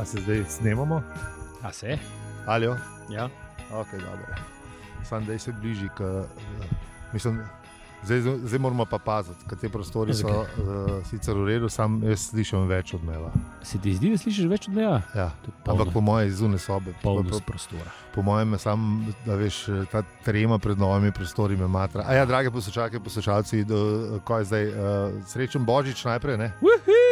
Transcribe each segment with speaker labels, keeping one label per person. Speaker 1: A se zdaj snemamo?
Speaker 2: A se?
Speaker 1: Alijo?
Speaker 2: Ja.
Speaker 1: Okay, dobro. Sam da se bliži. K, uh, mislim, zdaj, zdaj moramo pa paziti, ker te prostori so uh, sicer v redu, sam jaz slišim več odmeva.
Speaker 2: Se ti zdi, da slišiš več od dneva?
Speaker 1: Ja.
Speaker 2: To je polno-
Speaker 1: Ampak po mojem iz zune sobe, po, po,
Speaker 2: Polnost prostora.
Speaker 1: po mojem, sam, da veš, ta trema pred novimi prostori me matra. A ja, drage poslušalke, poslušalci, do, ko je zdaj, uh, srečen Božič najprej, ne?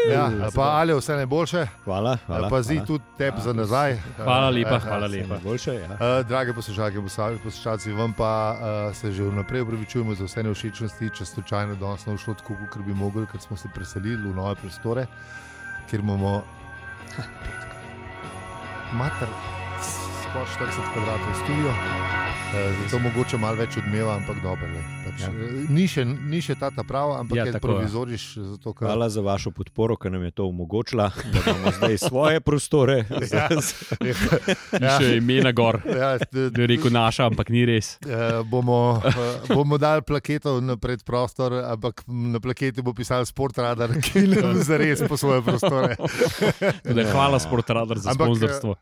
Speaker 1: Ja, pa ali vse najboljše,
Speaker 3: Hvala, hvala.
Speaker 1: pa zdi tudi tebi za nazaj.
Speaker 2: Hvala
Speaker 1: Eh,
Speaker 2: lepa,
Speaker 1: eh,
Speaker 2: hvala
Speaker 1: eh,
Speaker 2: lepa.
Speaker 3: Boljše, ja.
Speaker 1: Uh, drage poslušalke, poslušalci, poslušalci, vam pa uh, se že vnaprej upravičujemo za vse neušečnosti, če slučajno danes ne ušlo tako, kot bi mogli, ker smo se preselili v nove prostore, kjer imamo mater, skoro 40 kvadratov studio. Uh, zato mogoče malo več odmeva, ampak dobro. ne, Pač,
Speaker 2: Ja.
Speaker 1: ja. Ni še, ni še ta ta prava, ampak
Speaker 2: Ja,
Speaker 1: ja, je
Speaker 2: tako, ja.
Speaker 1: provizoriš, zato ker
Speaker 3: Hvala za vašo podporo, ki nam je to omogočila, da imamo zdaj svoje prostore.
Speaker 1: Ja.
Speaker 2: Ja. Še imena gor.
Speaker 1: ja, t-
Speaker 2: Bi rekel naša, ampak ni res.
Speaker 1: Eh, bomo, eh, bomo dali plaketo na predprostor, ampak na plaketi bo pisal Sportradar, ki nam zares po svoje prostore.
Speaker 2: Tudi, hvala Sportradar za
Speaker 1: Ja. Ampak, eh,
Speaker 2: sponzorstvo.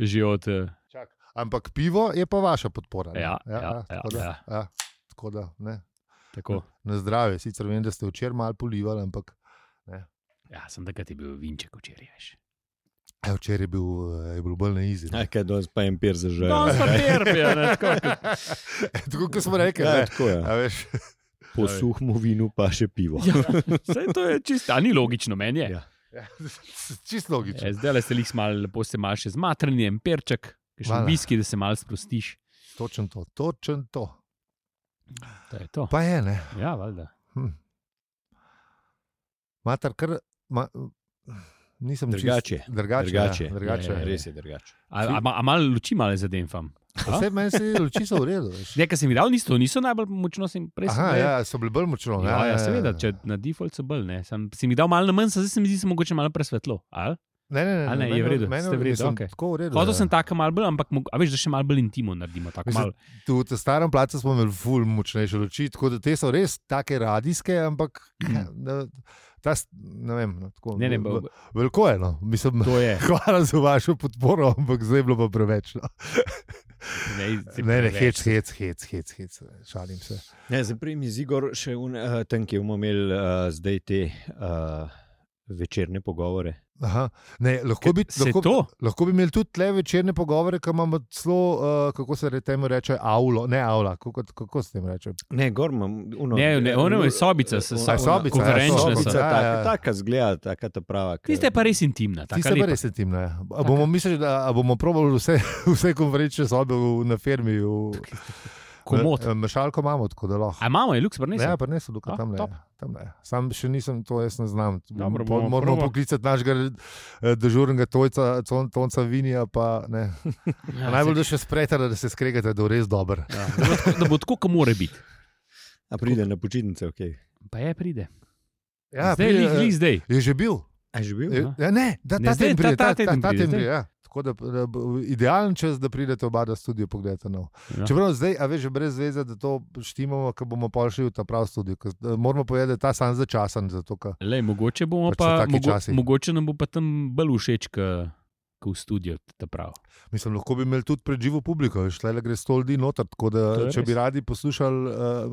Speaker 2: Že od. eh,
Speaker 1: Čak. Ampak pivo je pa vaša podpora. ne?
Speaker 2: Ja, ja, ja,
Speaker 1: tako da,
Speaker 2: ja.
Speaker 1: ja, tako da ne.
Speaker 2: Tako.
Speaker 1: Na zdravje, sicer vem, da ste včeraj malo polivali, ampak
Speaker 2: Ja, sem takrat je bil vinček včeraj. veš.
Speaker 1: eh, včeraj je bil, eh, je bilo bolj neizi.
Speaker 3: Aj, kaj danes pa Ja, jim pir zažal.
Speaker 1: No, Ja.
Speaker 2: Danes pa terpijo, ne, tako kot-
Speaker 1: Eh, tako kot smo rekli.
Speaker 3: Ja,
Speaker 1: ne.
Speaker 3: tako je.
Speaker 1: A veš,
Speaker 3: Po suhmu vinu pa še pivo.
Speaker 2: Ja, Saj to je čisto, a ni logično, meni je.
Speaker 3: Ja.
Speaker 1: Čisto logično.
Speaker 2: Ja, Zdaj le se jih malo, lepo se malo še zmatrni, en perček, še
Speaker 1: Hvala.
Speaker 2: en viski, da se malo sprostiš.
Speaker 1: Točen to, točen to.
Speaker 2: To je to.
Speaker 1: Pa je, ne.
Speaker 2: Ja, valjda.
Speaker 1: Matar, kar, ma, nisem čist-
Speaker 3: Drugače.
Speaker 1: Drugače,
Speaker 3: Drugače.
Speaker 1: ja, drugače je.
Speaker 2: Ja, ja,
Speaker 3: Res je drugače.
Speaker 2: A, a, ma- a malo luči, malo zadenfam. A?
Speaker 1: Vse meni se luči so v redu. veš.
Speaker 2: Nekaj sem jih dal, niso, niso najbolj močno, sem prej sem
Speaker 1: Aha,
Speaker 2: dal-
Speaker 1: ja, so bili bolj močno.
Speaker 2: Ja, ja, seveda, če na default so bolj, ne. Sem, sem jih dal malo na manj, zdaj se mi zdi, da sem mogoče malo presvetlo. ali?
Speaker 1: Ne, ne, ne,
Speaker 2: A ne,
Speaker 1: meni-
Speaker 2: je v redu,
Speaker 1: meni-
Speaker 2: ste v redu,
Speaker 1: mislim,
Speaker 2: okej.
Speaker 1: Tako v redu.
Speaker 2: Hotel
Speaker 1: ja.
Speaker 2: sem tako malo bolj, ampak mog- a veš, da še malo bolj intimno naredimo. Tako,
Speaker 1: Mislim,
Speaker 2: malo,
Speaker 1: Tu v starem placu smo imeli ful močnejše luči, tako da te so res take radijske, ampak ne, ne, ta, s- ne vem, no, tako.
Speaker 2: ne, ne,
Speaker 1: v-
Speaker 2: bo-
Speaker 1: Veliko je, no. Mislim,
Speaker 2: to je.
Speaker 1: hvala za vašo podporo, ampak zdaj je bilo pa preveč. No.
Speaker 2: Ne, si
Speaker 1: Ne, ne,
Speaker 2: preveč.
Speaker 1: hec, hec, hec, hec, hec, šalim se.
Speaker 3: Ne, zdaj prej mi z Igor še un, uh, tam, ki bomo imeli uh, zdaj te uh, večerne pogovore.
Speaker 1: Aha, ne, lahko, bi,
Speaker 2: Se
Speaker 1: lahko,
Speaker 2: to?
Speaker 1: lahko bi imeli tudi le večerne pogovore, ki imamo celo, uh, kako se re- temu reče, avlo, ne avla, kako, kako se tem reče.
Speaker 3: Ne, gor imam uno.
Speaker 2: Ne, ne, ono je sobica, s-
Speaker 3: ona-
Speaker 2: so-
Speaker 1: sobica, ja,
Speaker 3: konferenčna
Speaker 1: sobica,
Speaker 3: sobica,
Speaker 1: ja,
Speaker 3: taka-
Speaker 1: ja.
Speaker 3: Taka zgleda, taka ta prava. ki-
Speaker 2: Tiste je pa res intimna. taka
Speaker 1: Tiste pa
Speaker 2: lepa.
Speaker 1: res intimne. ja. A Bomo mislili, da a bomo probali vse, vse konferenčne sobe v, na firmi. V,
Speaker 2: Komot.
Speaker 1: Eh, Ja, Mešalko imamo, tako da lahko.
Speaker 2: A imamo je, luks, brnese.
Speaker 1: Ne, pa ne so
Speaker 2: A,
Speaker 1: tukaj tam.
Speaker 2: top.
Speaker 1: tam ne. Sam še nisem to, jaz ne znam.
Speaker 2: Dobro,
Speaker 1: Po-
Speaker 2: bomo
Speaker 1: Moramo
Speaker 2: probali.
Speaker 1: poklicati našega eh, dežurnega tojca, Con- tonca Vinija. Pa, ne.
Speaker 2: Ja,
Speaker 1: Najbolj da še spretara, da se skregate, da je res dober.
Speaker 2: Ja, da bo tako- da bo tako, kot mora biti.
Speaker 3: A pride na počitnice, ok.
Speaker 2: Pa je pride.
Speaker 1: Ja,
Speaker 2: zdaj,
Speaker 1: pride,
Speaker 2: lih,
Speaker 1: eh,
Speaker 2: lih zdaj.
Speaker 1: Je že bil.
Speaker 3: A že bil?
Speaker 1: Je-
Speaker 2: Aha.
Speaker 1: Ja, ne, da
Speaker 2: no. Ne,
Speaker 1: ta
Speaker 2: zdaj
Speaker 1: teden
Speaker 2: ta-
Speaker 1: pride.
Speaker 2: ta
Speaker 1: Ta
Speaker 2: teden
Speaker 1: ta
Speaker 2: pride,
Speaker 1: teden
Speaker 2: zdaj.
Speaker 1: pride. ja. Tako da, da bo idealen čas, da pridete oba na studio pogledati nov.
Speaker 2: Ja.
Speaker 1: Čeprav zdaj, a veš, že brez veze, da to štimamo, ker bomo pa šli v ta prav studio. Ker, eh, Moramo povedati, da je ta sam začasen. Zato, ka,
Speaker 2: Lej, mogoče bomo
Speaker 1: Pač so
Speaker 2: pa,
Speaker 1: taki časi.
Speaker 2: mogo, mogoče nam bo pa tam bolj všeč, kot v studiu, ta prav.
Speaker 1: mislim, lahko bi imeli tudi predživo publiko, šele gre sto ljudi noter. Tako
Speaker 2: To je
Speaker 1: da, če
Speaker 2: res.
Speaker 1: bi radi poslušali,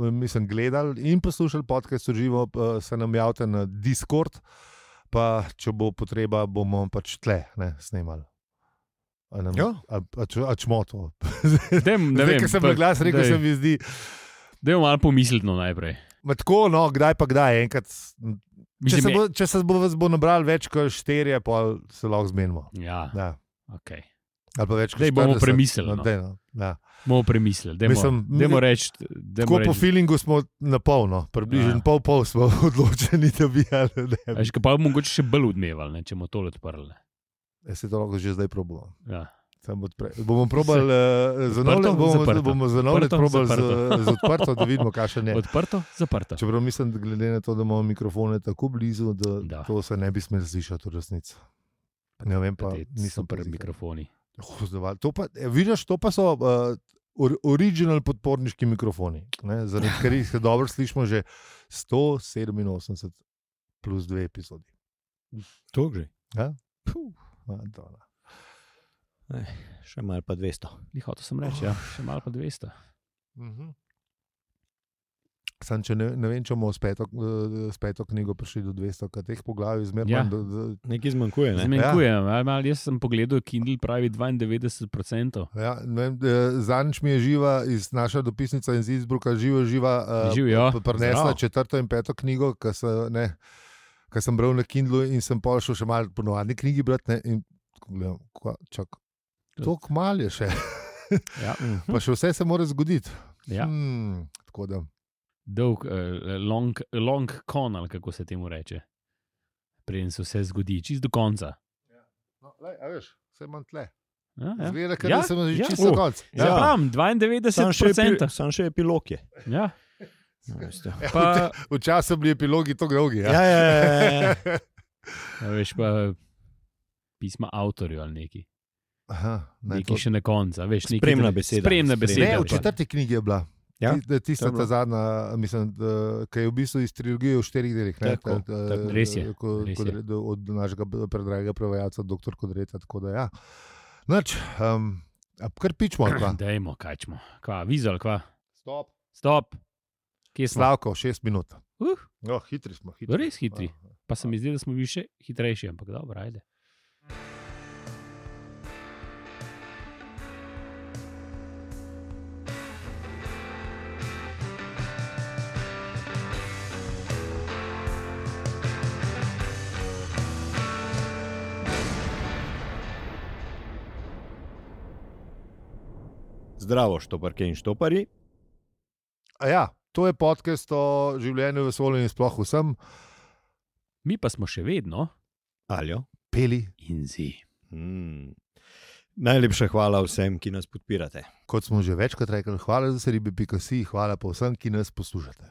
Speaker 1: eh, mislim, gledali in poslušali podcast v živo, eh, se nam javite na Discord. Pa, če bo potreba, bomo pač tle ne, snemali. A nam-
Speaker 3: Ja.
Speaker 1: A, a, če- a čmo to.
Speaker 2: Dem, ne
Speaker 1: Zdaj,
Speaker 2: vem,
Speaker 1: ker sem na glas rekel,
Speaker 2: daj,
Speaker 1: se mi zdi.
Speaker 2: Da je malo pomislimo najprej.
Speaker 1: Ma tako, no, kdaj pa kdaj, enkrat. Če
Speaker 2: Mislim,
Speaker 1: se,
Speaker 2: je-
Speaker 1: bo, če se bo, vas bo nabral več kot štirje, pa se lahko zmenimo.
Speaker 2: Ja,
Speaker 1: Ja.
Speaker 2: okay.
Speaker 1: Ali pa več kot
Speaker 2: Daj, bomo
Speaker 1: 40.
Speaker 2: premislili,
Speaker 1: No,
Speaker 2: no.
Speaker 1: daj, no. ja.
Speaker 2: Bomo premislili,
Speaker 1: Mislim,
Speaker 2: da bomo
Speaker 1: mi-
Speaker 2: reči, da
Speaker 1: Tako
Speaker 2: bomo
Speaker 1: po
Speaker 2: reči.
Speaker 1: feelingu smo na polno, približno
Speaker 2: Ja.
Speaker 1: ja. pol pol smo odločeni, da bi ali
Speaker 2: A
Speaker 1: ne.
Speaker 2: veš, kaj Pa bomo mogoče še bolj odmevali, ne, če bomo tole odprli.
Speaker 1: Jaz se Ja, to lahko že zdaj probujemo.
Speaker 2: Ja.
Speaker 1: Bomo probali eh, za nov let,
Speaker 2: Odprto,
Speaker 1: bomo,
Speaker 2: zaprto.
Speaker 1: bomo za nov let
Speaker 2: Odprto,
Speaker 1: probali z,
Speaker 2: zaprto.
Speaker 1: z odprto, da vidimo, kaj še ne.
Speaker 2: Odprto, zaprto.
Speaker 1: Čeprav mislim, da glede na to, da imamo mikrofone tako blizu, da,
Speaker 2: Da.
Speaker 1: da. to se ne bi smel slišati v resnici. Ne vem, pa
Speaker 2: Te
Speaker 1: nisem
Speaker 2: super
Speaker 1: preziran.
Speaker 2: mikrofoni.
Speaker 1: Hozdoval. To pa, e, vidiš, to pa so uh, or, original podporniški mikrofoni, ne, zaradi katerih se dobro slišimo že 187 plus 2 epizodi.
Speaker 3: To gre.
Speaker 1: Madonna.
Speaker 3: še malo pa 200.
Speaker 2: Hotel sem reči,
Speaker 1: Oh.
Speaker 2: ja. še malo pa 200.
Speaker 1: Mhm. Sam, če ne, ne vem, če bomo s peto, eh, s peto knjigo prišli do 200, kaj teh poglavij zmeraj
Speaker 2: Ja.
Speaker 1: manj. do- do-
Speaker 3: Nekaj zmanjkuje. Ne?
Speaker 2: Zmanjkujem. Ja. Jaz sem pogledal, Kindle pravi 92%.
Speaker 1: Ja, ne vem, eh, Zadnjič mi je živa iz naša dopisnica iz Izbruka, živa, živa, eh,
Speaker 3: ja.
Speaker 2: Živijo.
Speaker 1: p- prinesla
Speaker 2: Zdravo.
Speaker 1: četrto in peto knjigo, ki se, ne, ki sem bral na Kindlu in sem pol šel še malo po navadni knjigi brati. ne, in tako Gledam, kva, čak, tok mal je še,
Speaker 2: Ja.
Speaker 1: pa še vse se mora zgoditi.
Speaker 2: Ja.
Speaker 1: Hmm, tako da,
Speaker 2: Dolg, eh, long, long con, ali kako se temu reče. Preden se vse zgodi, čist do konca.
Speaker 1: no, lej, a veš, vse imam tle.
Speaker 2: Ja, ja.
Speaker 1: Zgleda, ker
Speaker 2: Ja,
Speaker 1: ja? sem že
Speaker 2: ja.
Speaker 1: čisto
Speaker 3: Uh,
Speaker 1: konc.
Speaker 2: Ja,
Speaker 3: Ja.
Speaker 2: pravim,
Speaker 3: Sam še, epi,
Speaker 2: 92%.
Speaker 3: sam še epilog je.
Speaker 2: Ja,
Speaker 3: Ja, veste.
Speaker 2: pa,
Speaker 1: Včasih so bili epilogi tako dolgi.
Speaker 3: ja,
Speaker 1: Ja.
Speaker 3: ja, ja, ja.
Speaker 2: a veš, pa pisma avtorju ali neki.
Speaker 1: Aha, ne,
Speaker 2: Nekaj
Speaker 1: to,
Speaker 2: še na koncu. a Veš, nekaj
Speaker 3: Spremna
Speaker 2: da-
Speaker 3: beseda.
Speaker 2: Spremna
Speaker 3: Spremna.
Speaker 1: ne,
Speaker 2: beseda. pa-
Speaker 1: v četrti knjigi je bila.
Speaker 3: Ja,
Speaker 1: Ti-
Speaker 3: to je
Speaker 1: Tista
Speaker 3: bilo.
Speaker 1: ta zadnja, mislim, da- ki je v bistvu iz trilogije v štirih delih. Ne, ta,
Speaker 3: Tako,
Speaker 1: ta,
Speaker 3: tako.
Speaker 2: Res je,
Speaker 1: ko-
Speaker 2: res
Speaker 1: ko-
Speaker 2: je.
Speaker 1: do- Od našega b- predragega prevajalca, doktor Kodreta. tako Da, ja. Nač, um, kar pičmo. ali kva?
Speaker 2: Dajmo, kačmo. Kva, vizual, kva.
Speaker 1: Stop.
Speaker 2: Stop. Kje smo?
Speaker 1: Slavko, šest minut.
Speaker 2: Uh,
Speaker 1: No, hitri smo. Hitri.
Speaker 2: Res hitri. pa se mi zdi, da smo bili še hitrejši, ampak dobro, ajde.
Speaker 3: Zdravo, štoparke in štopari.
Speaker 1: A Ja, to je podcast o življenju, vesolju in sploh vsem.
Speaker 2: Mi pa smo še vedno
Speaker 3: Aljo.
Speaker 1: Peli,
Speaker 2: in zi.
Speaker 3: Mm. Najlepša hvala vsem, ki nas podpirate.
Speaker 1: kot smo že večkrat rekli, hvala za seribi, pika si, hvala pa vsem, ki nas poslušate.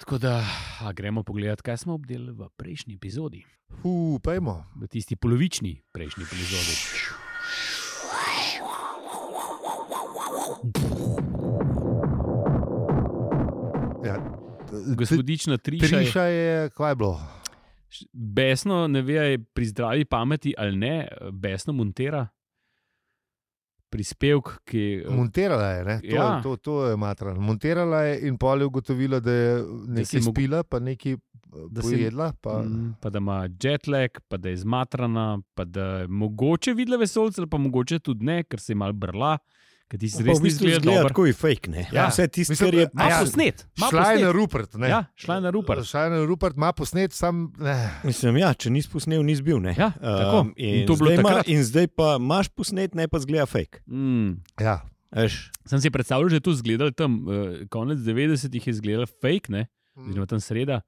Speaker 2: Tako da a, gremo pogledat, kaj smo obdelali v prejšnji epizodi,
Speaker 1: Hu, pejmo.
Speaker 2: v tisti polovični prejšnji epizodi.
Speaker 1: Ja,
Speaker 2: Gospodična triša, je-
Speaker 1: Triša je, kaj je bilo?
Speaker 2: š- besno ne ve, a je pri zdravi pameti ali ne, besno montira prispevk, ki je
Speaker 1: Monterala je, ne? to,
Speaker 2: Eh, Ja.
Speaker 1: ja. to, to je matra. Monterala je in pol je ugotovila, da je
Speaker 2: si
Speaker 1: nekaj
Speaker 2: mogo-
Speaker 1: spila, pa nekaj eh,
Speaker 2: Da si-
Speaker 1: pojedla. Pa...
Speaker 2: Mm, Pa da ima jetlag, pa da je zmatrana, pa da je mogoče videla vesolce, ali pa mogoče tudi ne, ker se je mal brla, ker ti si
Speaker 3: Pa
Speaker 2: res
Speaker 3: v bistvu
Speaker 2: misliš, da je dobro.
Speaker 3: tako je fake. Ne?
Speaker 1: Ja.
Speaker 3: Vse tisto,
Speaker 1: Mislim,
Speaker 3: kar je
Speaker 1: a
Speaker 2: Ma
Speaker 1: ja,
Speaker 2: posnet, ma
Speaker 1: Šla je na
Speaker 2: posnet.
Speaker 1: Rupert. ne.
Speaker 2: Ja, šla je na Rupert.
Speaker 1: Šla je na Rupert, ima posnet, sam. Ne.
Speaker 3: Mislim, ja, če nisi posnel, nisi bil. Ne?
Speaker 2: Ja, tako.
Speaker 3: Um,
Speaker 2: In
Speaker 3: in,
Speaker 2: to je bilo
Speaker 3: zdaj ma,
Speaker 2: takrat.
Speaker 3: in zdaj pa imaš posnet, ne pa zgleda fake.
Speaker 2: Mm.
Speaker 1: Ja.
Speaker 3: Eš,
Speaker 2: Sem si predstavljal, da je to zgledal tam, eh, konec 90-ih je zgledal fake, ne,
Speaker 3: Mhm.
Speaker 1: Ja,
Speaker 2: oziroma tam sreda.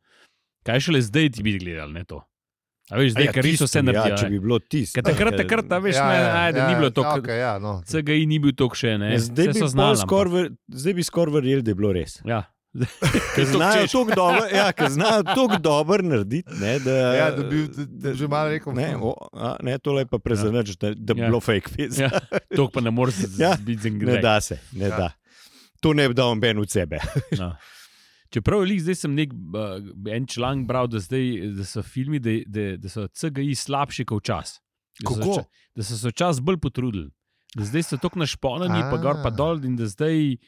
Speaker 2: Kaj šele zdaj ti bi gledal, ne to. A veš,
Speaker 3: a
Speaker 2: zdaj, ker res
Speaker 3: tisto,
Speaker 2: vse
Speaker 3: Ja,
Speaker 2: naredijo.
Speaker 3: če
Speaker 2: ne.
Speaker 3: bi bilo tisto.
Speaker 2: Ker takrat, takrat, a veš,
Speaker 1: ja,
Speaker 2: ne,
Speaker 1: ja,
Speaker 2: ajde,
Speaker 1: ja,
Speaker 2: ni bilo to,
Speaker 1: Okay, ja, no.
Speaker 2: CGI ni bil tok še, ne.
Speaker 3: Ja, Zdaj
Speaker 2: vse so
Speaker 3: bi, pol
Speaker 2: znali. ampak-
Speaker 3: skoraj ver- zdaj bi skoraj verjeli, da je bilo res.
Speaker 2: Ja.
Speaker 3: Ker
Speaker 2: tako
Speaker 3: znajo
Speaker 2: češ.
Speaker 3: tako dobro, ja, ker znajo tako dobro narediti. Ne, da,
Speaker 1: Ja, da bi da- da že malo rekel. no.
Speaker 3: Ne, o, a, ne tole je pa prezanač, ja. da, da bi
Speaker 2: Ja.
Speaker 3: ja. bilo fake. Fizz.
Speaker 2: Ja, to pa ne moreš
Speaker 3: Ja,
Speaker 2: biti
Speaker 3: Ne
Speaker 2: zengren.
Speaker 3: da se, ne
Speaker 1: Ja.
Speaker 3: ja. da. To ne bi dal noben od sebe.
Speaker 2: No. Čeprav je lih, zdaj sem nek, uh, en članek bral, da, zdaj, da so filmi, da, da, da so CGI slabši kot čas. Da so
Speaker 1: Kako?
Speaker 2: ča- Da so se čas bolj potrudili, da zdaj so tako našponjeni, pa gor pa
Speaker 1: A.
Speaker 2: dol in da zdaj.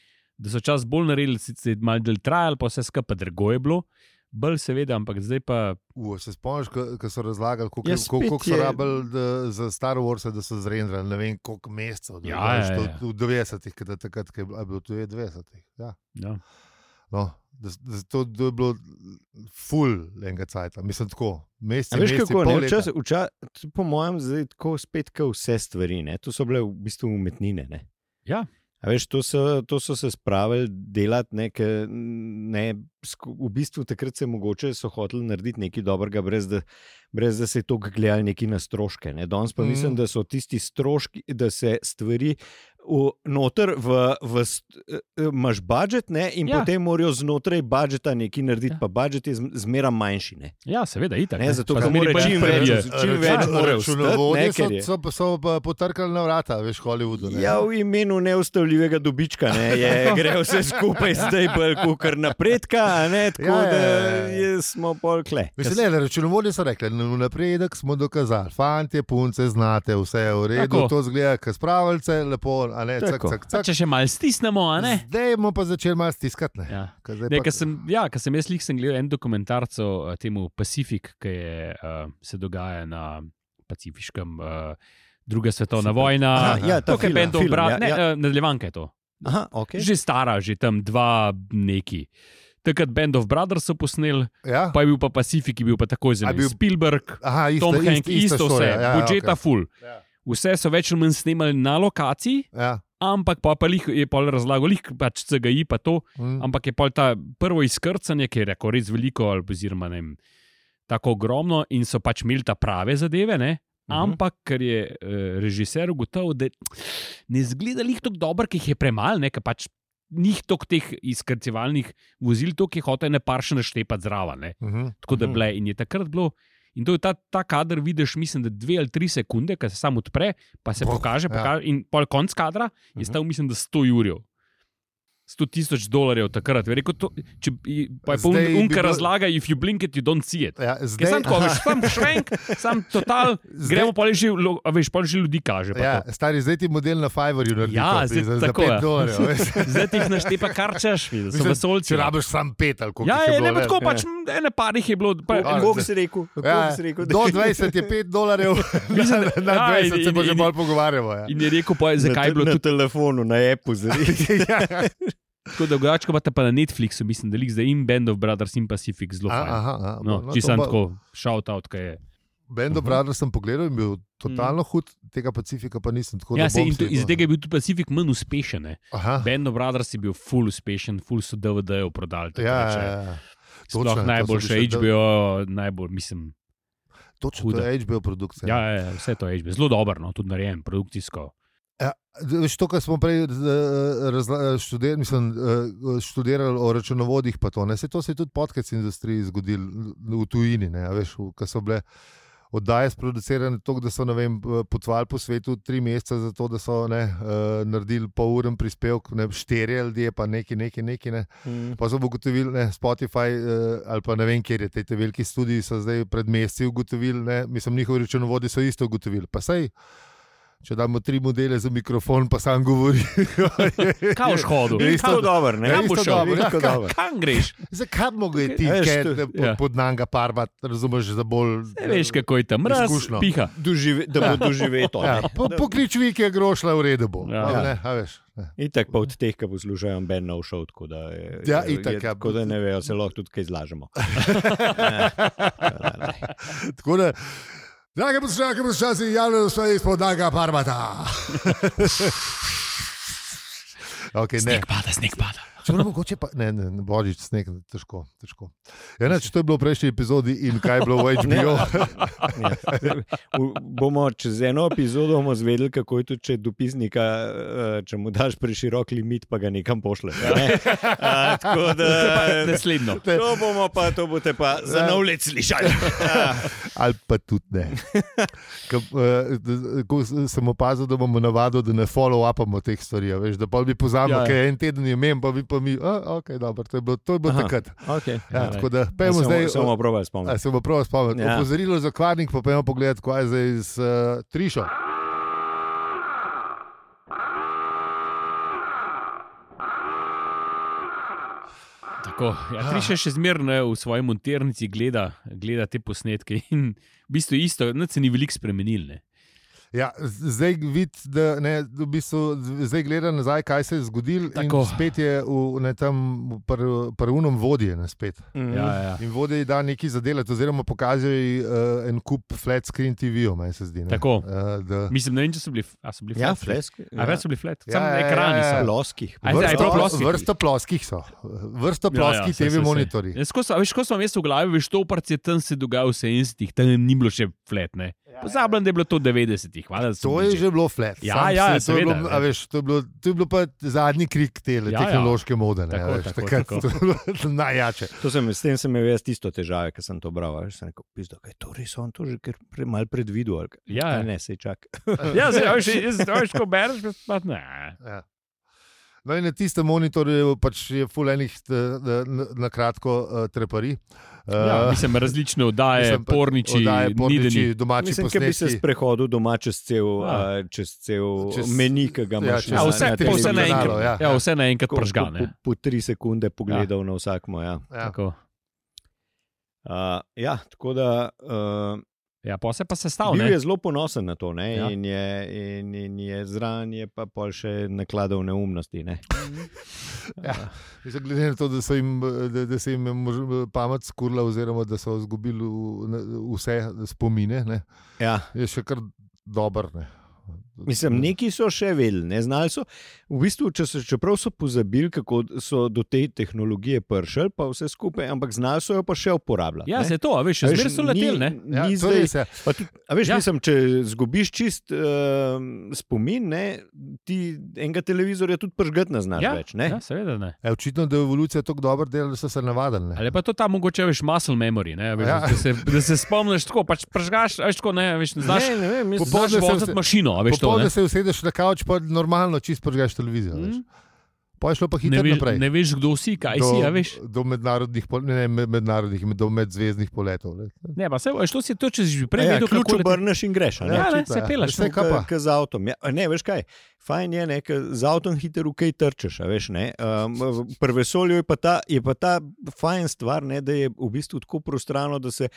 Speaker 2: Da so čas bolj naredili, sicer je malo del trajal, pa vse skupaj drago je bilo, bolj seveda, ampak zdaj pa
Speaker 1: U, se spomniš, ko so razlagali, koliko
Speaker 3: Ja,
Speaker 1: je- koliko-
Speaker 3: spet
Speaker 1: koliko so
Speaker 3: je-
Speaker 1: rabili da- za Star Wars, da so zrendrali, ne vem koliko mesecev. da
Speaker 2: Ja,
Speaker 1: ga veš,
Speaker 2: ja,
Speaker 1: to-
Speaker 2: ja.
Speaker 1: to V 90-ih, ko je takrat ko je bilo, a je bilo to je v 90-ih. Ja.
Speaker 2: ja,
Speaker 1: No, da, da, to, to je bilo full enega cajta, mislim tako. Meseci,
Speaker 3: A veš
Speaker 1: meseci,
Speaker 3: kako,
Speaker 1: pol
Speaker 3: ne,
Speaker 1: leta.
Speaker 3: včas, vča, to po mojem, zdaj je tako spet kot vse stvari. Ne? To so bile v bistvu umetnine. Ne?
Speaker 2: Ja.
Speaker 3: A veš, to so, to so se spravili delati, ne, ke, ne, sku- v bistvu takrat se mogoče so hoteli narediti nekaj dobrega, brez da, brez da se je to gledali neki na stroške. Ne. Danes pa
Speaker 1: Mhm.
Speaker 3: mm. mislim, da so tisti stroški, da se stvari v, noter v, v, st- eh, eh, imaš budžet, ne, in
Speaker 2: Ja.
Speaker 3: ja. potem morajo znotraj budžeta nekaj narediti, ja. pa budžet je zm- zmeraj manjši. Ne.
Speaker 2: Ja, seveda, itak.
Speaker 3: Ne, zato,
Speaker 2: Pa
Speaker 3: ker
Speaker 2: zmeraj
Speaker 3: mora
Speaker 2: pač
Speaker 3: čim
Speaker 2: prvi je.
Speaker 3: več- čim več
Speaker 1: Račun-
Speaker 3: mora vstati,
Speaker 1: računovodje
Speaker 3: ne, ker je.
Speaker 1: so, so, so pa potrkali na vrata, veš, Hollywoodu. ne.
Speaker 3: Ja, v imenu neustavljivega dobička ne, je, gre vse skupaj zdaj bolj kot napredka, a ne, tako
Speaker 1: Ja,
Speaker 3: ja,
Speaker 1: ja,
Speaker 3: da
Speaker 1: ja, ja.
Speaker 3: je, smo bolj kle.
Speaker 1: Mislim, le, računovodje so rekli, da napredek smo dokazali. Fantje, punce, znate, vse je v redu,
Speaker 2: Tako.
Speaker 1: Tako. to zgleda, kot spravljice, lepo, a ne, cak,
Speaker 3: Tako.
Speaker 1: cak,
Speaker 2: Pa
Speaker 1: cak.
Speaker 2: Če še malo stisnemo, a ne?
Speaker 1: Zdaj bomo pa začeli malo stiskati. Ne?
Speaker 2: Ja.
Speaker 1: Ker zdaj
Speaker 2: Ne,
Speaker 1: pa-
Speaker 2: ker sem, ja, ker sem jaz lih sem gledal en dokumentarc o eh, temu Pacific, ki je, uh, se dogaja na Pacifiškem, uh, druga svetovna
Speaker 3: Super.
Speaker 2: vojna.
Speaker 3: Aha, ja, ta
Speaker 2: to, kar je
Speaker 3: film,
Speaker 2: Bendov
Speaker 3: film,
Speaker 2: brat,
Speaker 3: ja,
Speaker 2: ne,
Speaker 3: ja.
Speaker 2: eh, nadaljevanka je to.
Speaker 3: Aha, okay.
Speaker 2: Že stara, že tam dva neki. Takrat Band of Brothers so posneli,
Speaker 1: Ja?
Speaker 2: pa je bil pa Pacific, ki je bil pa
Speaker 1: A
Speaker 2: takoj zelo
Speaker 1: je bil-
Speaker 2: bil... Spielberg,
Speaker 1: Aha, isto,
Speaker 2: Tom
Speaker 1: isto,
Speaker 2: Hanks,
Speaker 1: isto,
Speaker 2: isto, isto vse,
Speaker 1: storja,
Speaker 2: ja,
Speaker 1: ja,
Speaker 2: budžeta okay.
Speaker 1: okay.
Speaker 2: full.
Speaker 1: Ja.
Speaker 2: Vse so več ali manj snimali na lokaciji,
Speaker 1: Ja.
Speaker 2: ampak pa, pa lih, je pol razlagal, lih pač CGI, pa to,
Speaker 1: Mm.
Speaker 2: Ampak je pa ta prvo izkrcanje, ki je rekel res veliko, ali oziroma ne vem, tako ogromno, in so pač imeli ta prave zadeve. Ne?
Speaker 3: Mhm.
Speaker 2: Ampak, ker je uh, režiser ugotovil, da ne zgleda jih tako dobro, ki jih je premalo, ne, ker pač njih toliko teh izkrcevalnih vozil, to, ki hoče ne paršne štepati zraven. ne.
Speaker 1: Mhm.
Speaker 2: Tako da
Speaker 3: Mhm.
Speaker 2: bile in je takrat bilo. In to je ta, ta kader, vidiš, mislim, da dve ali tri sekunde, ki se sam odpre, pa se
Speaker 1: Boh, ja.
Speaker 2: pokaže, pokaže in pol konc kadra je
Speaker 3: Mhm.
Speaker 2: stal, mislim, da 100 jurjev. 100 tisoč dolarjarjev takrat. Je rekel, to, če, i- pa je pa un,
Speaker 1: Zdaj bi
Speaker 2: unka
Speaker 1: bilo-
Speaker 2: razlaga, if you blink it, you don't see it.
Speaker 1: Ja,
Speaker 2: Ker
Speaker 1: zdaj,
Speaker 2: sam tako, veš, sam švenk, sam total,
Speaker 1: Zdaj-
Speaker 2: zdaj, gremo pa že, lo- a veš, pa že ljudi kaže. pa
Speaker 1: ja,
Speaker 2: to.
Speaker 1: stari, zdaj ti model na Fiverru naredi
Speaker 2: Ja,
Speaker 1: to, ti
Speaker 2: zdaj
Speaker 1: za, za
Speaker 2: tako,
Speaker 1: 5
Speaker 2: ja.
Speaker 1: dolarjev. veš.
Speaker 2: Zdaj ti jih naštepa, kar češ, vidiš, so
Speaker 1: Mislim,
Speaker 2: vesolci.
Speaker 1: Če rabiš sam pet ali koliko
Speaker 2: Ja,
Speaker 1: jih
Speaker 2: je,
Speaker 1: je bilo,
Speaker 2: ne, pa tako
Speaker 3: ne.
Speaker 2: pač, m, ene parih je bilo. Pa,
Speaker 1: Koliko- koliko si
Speaker 3: rekel?
Speaker 1: Ja, do 20 je 5 dolarjev,
Speaker 2: Mislim,
Speaker 1: na,
Speaker 2: da-
Speaker 1: na
Speaker 2: ja,
Speaker 1: 20 se pa
Speaker 2: in- in-
Speaker 1: že bolj pogovarjamo. Ja.
Speaker 2: in je rekel, pa, je, zakaj je bilo to
Speaker 3: na telefonu, na Apple, zdaj.
Speaker 2: Tako da drugače pa ta pa na Netflixu, mislim, da je zdaj in Band of Brothers in Pacific zelo
Speaker 1: A,
Speaker 2: fajn.
Speaker 1: aha, aha,
Speaker 2: No,
Speaker 1: bo,
Speaker 2: če
Speaker 1: to
Speaker 2: sem
Speaker 1: pa-
Speaker 2: tako, shout out, kaj je.
Speaker 1: Band of
Speaker 3: Mhm.
Speaker 1: Brothers sem pogledal in bil totalno hud, tega Pacifika pa nisem tako
Speaker 2: Mm. Ja,
Speaker 1: da
Speaker 2: se,
Speaker 1: bom
Speaker 2: in, to,
Speaker 1: si-
Speaker 2: in zdaj je bil tudi Pacific manj uspešen. ne.
Speaker 1: Aha,
Speaker 2: Band of Brothers je bil full uspešen, full so DVD-jev prodali.
Speaker 1: ja,
Speaker 2: takrat
Speaker 1: ja,
Speaker 2: še.
Speaker 1: ja.
Speaker 2: Sploh
Speaker 1: Točno, to so bili
Speaker 2: najboljše
Speaker 1: še D-
Speaker 2: HBO, najbolj, mislim.
Speaker 1: Točno, to
Speaker 2: Huda.
Speaker 1: je HBO produkcija.
Speaker 2: Ja, ja, ja, vse to je HBO, zelo dobro, no, tudi narejen, produkcijsko.
Speaker 1: Veš, to, kar smo prej eh, razla- študirali, mislim, eh, študirali o računovodjih, pa to, ne, se to se je tudi podcast industriji zgodilo v tujini, ne, a veš, ki so bile oddaje sproducirane tako, da so ne vem, eh, potovali po svetu tri mesece za to, da so ne, eh, naredili poluren prispevek, ne, štirje ljudje, pa neki, neki, neki. Ne.
Speaker 2: Mm.
Speaker 1: Pa so ugotovili, da Spotify eh, ali pa ne vem, kje je te, te veliki studiji, so zdaj pred meseci ugotovili, ne, mislim, njihovi računovodi so isto ugotovili. Pa sej, če damo tri modele za mikrofon, pa sam govori.
Speaker 2: Kaj boš hodil?
Speaker 1: Ja, isto-
Speaker 3: Isto dobro, ne?
Speaker 1: Ja,
Speaker 2: Kam
Speaker 1: isto
Speaker 2: boš šel?
Speaker 1: dobro, ja,
Speaker 3: Veliko
Speaker 1: ka-
Speaker 3: dobro.
Speaker 2: Kam greš?
Speaker 1: Zakaj bi mogel iti
Speaker 3: Veš,
Speaker 1: kaj,
Speaker 3: to-
Speaker 1: ne, pod,
Speaker 2: ja.
Speaker 1: pod nanga parvat, razumeš, za bolj.
Speaker 2: Ne veš, kako je tam, mraz,
Speaker 1: Izkušnjo.
Speaker 2: piha.
Speaker 3: Dožive, da bo doživel to.
Speaker 1: Ja, po, poklič vi, ki je grošla v redu. Bo,
Speaker 2: Ja.
Speaker 1: ja. ne, a veš, ne.
Speaker 3: In tako pa od teh, ki poslušajo, Ben no show, tako da, je,
Speaker 1: Ja,
Speaker 3: je-
Speaker 1: itak,
Speaker 3: je
Speaker 1: ja.
Speaker 3: tako da ne vejo, se lahko tudi kaj izlažemo.
Speaker 1: Tako da, drage poslušalke, poslušalci, javno stoji izpod nanga parvata. okay, ne.
Speaker 2: Sneg pada, sneg pada.
Speaker 1: Čeprav mogoče pa ne, ne, ne božič, sneg, težko. težko. Enač, to je bilo v prejšnji epizodi in kaj je bilo v HBO.
Speaker 3: Ja. V- Bomo čez eno epizodo bomo zvedeli, kako je tudi, če dopisnika, eh, če mu daš preširok limit, pa ga nekam pošleš. Ne? A, Tako da
Speaker 2: Naslednjo.
Speaker 3: To bomo pa, to boste pa za nov let slišali. Ja.
Speaker 1: Ali pa tudi ne. Ko, eh, ko s- sem opazil, da bomo navado, da ne follow-upamo teh stvari, a veš, da pa bi pozabil,
Speaker 2: Ja,
Speaker 1: ja,
Speaker 2: ja.
Speaker 1: ker en teden je imel, pa bi pa mi, a, ok, dobro, to je bilo, to je bilo
Speaker 3: Aha.
Speaker 1: takrat.
Speaker 3: Okay.
Speaker 1: Ja,
Speaker 2: Ja,
Speaker 1: tako da, pejmo zdaj.
Speaker 3: Samo oproba
Speaker 1: A,
Speaker 3: spomnim.
Speaker 1: se bo prav spomnil. Ja.
Speaker 3: Ja.
Speaker 1: Opozorilo za kvarnik, pa pojmo pogledati, kaj je zdaj z uh, Trišo.
Speaker 2: Tako, ja, Triša še zmerno v svoji monternici gleda, gleda te posnetke in v bistvu isto, nič se ni veliko spremenil. Ne?
Speaker 1: Ja, z- zdaj vidi, da ne, v bistvu, z- zdaj gleda nazaj, kaj se je zgodilo. in
Speaker 2: Tako.
Speaker 1: Spet je v, ne, tam prvem vodje. Ne, spet.
Speaker 2: Ja, ja.
Speaker 1: in vodje ji da nekaj za delati, oziroma pokaže ji uh, en kup flat screen TV-ov, meni se zdi. ne.
Speaker 2: Tako.
Speaker 1: Eh, da-
Speaker 2: Mislim, ne vem, če so bili, f- a so bili
Speaker 3: Ja,
Speaker 2: flat.
Speaker 3: flesk.
Speaker 2: A več so bili flat,
Speaker 1: Ja,
Speaker 2: samo
Speaker 1: ja, ja,
Speaker 2: ekrani
Speaker 1: ja.
Speaker 2: so.
Speaker 3: Loskih.
Speaker 2: A zdaj, a je prav
Speaker 1: Vrsto,
Speaker 2: ploskih?
Speaker 1: vrsto ploskih so, vrsto ploskih
Speaker 2: ja, saj, saj, Ja,
Speaker 1: TV
Speaker 2: saj.
Speaker 1: monitorji.
Speaker 2: Ja, skozi- a Veš, ko sem jaz v glavi, veš, to oparc je tam se dogajal vse in si tam ni bilo še flat. Ne? Pozabljam, da je bilo to 90-ih. Hvala, da sem
Speaker 1: To je
Speaker 2: blizu.
Speaker 1: že bilo flat.
Speaker 2: Ja,
Speaker 1: Sam
Speaker 2: ja,
Speaker 1: se- to, je
Speaker 2: seveda,
Speaker 1: bilo,
Speaker 2: ja.
Speaker 1: a veš, to, je bilo, to je bilo pa zadnji krik te
Speaker 2: Ja,
Speaker 1: ja,
Speaker 2: ja.
Speaker 1: tehnološke mode. Ne,
Speaker 2: Tako,
Speaker 1: a veš,
Speaker 2: tako,
Speaker 1: takrat
Speaker 2: tako.
Speaker 1: to je bilo najjače.
Speaker 3: To sem, s tem sem imel jaz tisto težavo, ker sem to bral. a veš, Sem rekel, pizdo, kaj je to res on to že kar pre, malo predvidel. ali kaj?"
Speaker 2: Ja,
Speaker 3: "A
Speaker 2: ja.
Speaker 3: ne, sej čak.
Speaker 2: Ja, zdaj, veš, ko bereš, pa ne.
Speaker 1: Ja. No, in na tistem monitorju pač je fulejnih na kratko eh, trepari. Eh,
Speaker 2: Ja, mislim, različne oddaje,
Speaker 1: mislim, pa-
Speaker 2: porniči,
Speaker 1: oddaje,
Speaker 2: nideni.
Speaker 1: porniči, domači
Speaker 3: Mislim, da bi se
Speaker 1: posnetki.
Speaker 3: sprehodil doma čez cel,
Speaker 2: Ja.
Speaker 3: a, čez cel
Speaker 1: Čez-
Speaker 3: čez, meni, ki ga
Speaker 1: ja,
Speaker 3: imaš.
Speaker 1: čez-
Speaker 3: na-
Speaker 2: Ja, vse,
Speaker 3: na
Speaker 1: te
Speaker 2: po vse
Speaker 3: televizorju.
Speaker 1: naenkrat,
Speaker 2: naenkrat,
Speaker 1: ja.
Speaker 2: ja, vse naenkrat
Speaker 3: Tako, Po,
Speaker 2: pržgane.
Speaker 3: po, po tri sekunde pogledal ja. na vsakmo. Ja.
Speaker 1: Ja.
Speaker 3: Uh, ja, tako da uh,
Speaker 2: Ja, pa se pa sestavlja.
Speaker 3: bil je zelo ponosen na to ne?
Speaker 2: Ja.
Speaker 3: ja. in je, in, in je zraven, je pa pol še nakladal neumnosti. Ne?
Speaker 1: Ja, Mislim, glede na to, da, so jim, eh, da, da se jim je mož- pamet skurla, oziroma da so izgubili v- na- vse spomine, ne,
Speaker 3: Ja.
Speaker 1: je še kar dober. Ne.
Speaker 2: Mm.
Speaker 3: Mislim, neki so še vedeli, ne znali so. V bistvu, če so, čeprav so pozabili, kako so do te tehnologije prišli, pa vse skupaj, ampak znali so jo pa še uporabljati.
Speaker 2: Ja,
Speaker 3: ne.
Speaker 2: se to, a veš,
Speaker 3: A
Speaker 2: še
Speaker 3: veš,
Speaker 2: zmeraj so
Speaker 3: ni-
Speaker 2: leteli. ne. torej,
Speaker 3: ni
Speaker 1: Ja, to
Speaker 3: zdaj-
Speaker 1: res je.
Speaker 3: Pa tudi, a veš,
Speaker 2: Ja.
Speaker 3: ja. mislim, če zgubiš čist uh, spomin, ne, ti enega televizorja tudi pržgati ne znaš
Speaker 2: Ja,
Speaker 3: več. Ne?
Speaker 2: ja, seveda ne.
Speaker 1: Ja, očitno, da je evolucija tako dobro delala, da so se navadili. ne.
Speaker 2: Ali pa to tam mogoče veš muscle memory, ne, a veš,
Speaker 1: Ja.
Speaker 2: ja. da, se, da se spomniš tako, pač pržgaš, a veš, tako, ne, veš, ne znaš.
Speaker 3: ne, ne vem, mislim,
Speaker 1: Popoldne
Speaker 2: Popoldne
Speaker 1: se
Speaker 2: si
Speaker 1: vse-
Speaker 2: vozil mašino, a veš to.
Speaker 1: Popoldne
Speaker 2: Ne? Mhm.
Speaker 1: se usedeš na kavč, pa normalno čist pržgaš televizijo. Mm. Pa je šlo pa
Speaker 2: Ne,
Speaker 1: hitro
Speaker 2: veš,
Speaker 1: naprej.
Speaker 2: ne veš, kdo si, kaj si, a veš.
Speaker 1: do mednarodnih, pol- ne, ne mednarodnih, med- do medzvezdnih poletov. Ne.
Speaker 2: Ne, pa se, a veš, to si to, če si že prej
Speaker 3: Ja,
Speaker 2: vedel,
Speaker 3: ključ
Speaker 2: kako leti-
Speaker 3: obrneš in greš. a ne?
Speaker 2: Ja, ne,
Speaker 1: očitno,
Speaker 2: se
Speaker 1: ja.
Speaker 2: pelaš.
Speaker 1: Vse
Speaker 2: no.
Speaker 1: ka- kaj pa?
Speaker 3: K, k z avtom. Ja, ne, veš kaj, fajn je, ne, ker z avtom hitro ukaj trčeš, a veš. ne. Um, v- Pri vesolju je pa, ta, je pa ta fajn stvar, ne, da je v bistvu tako prostrano, da se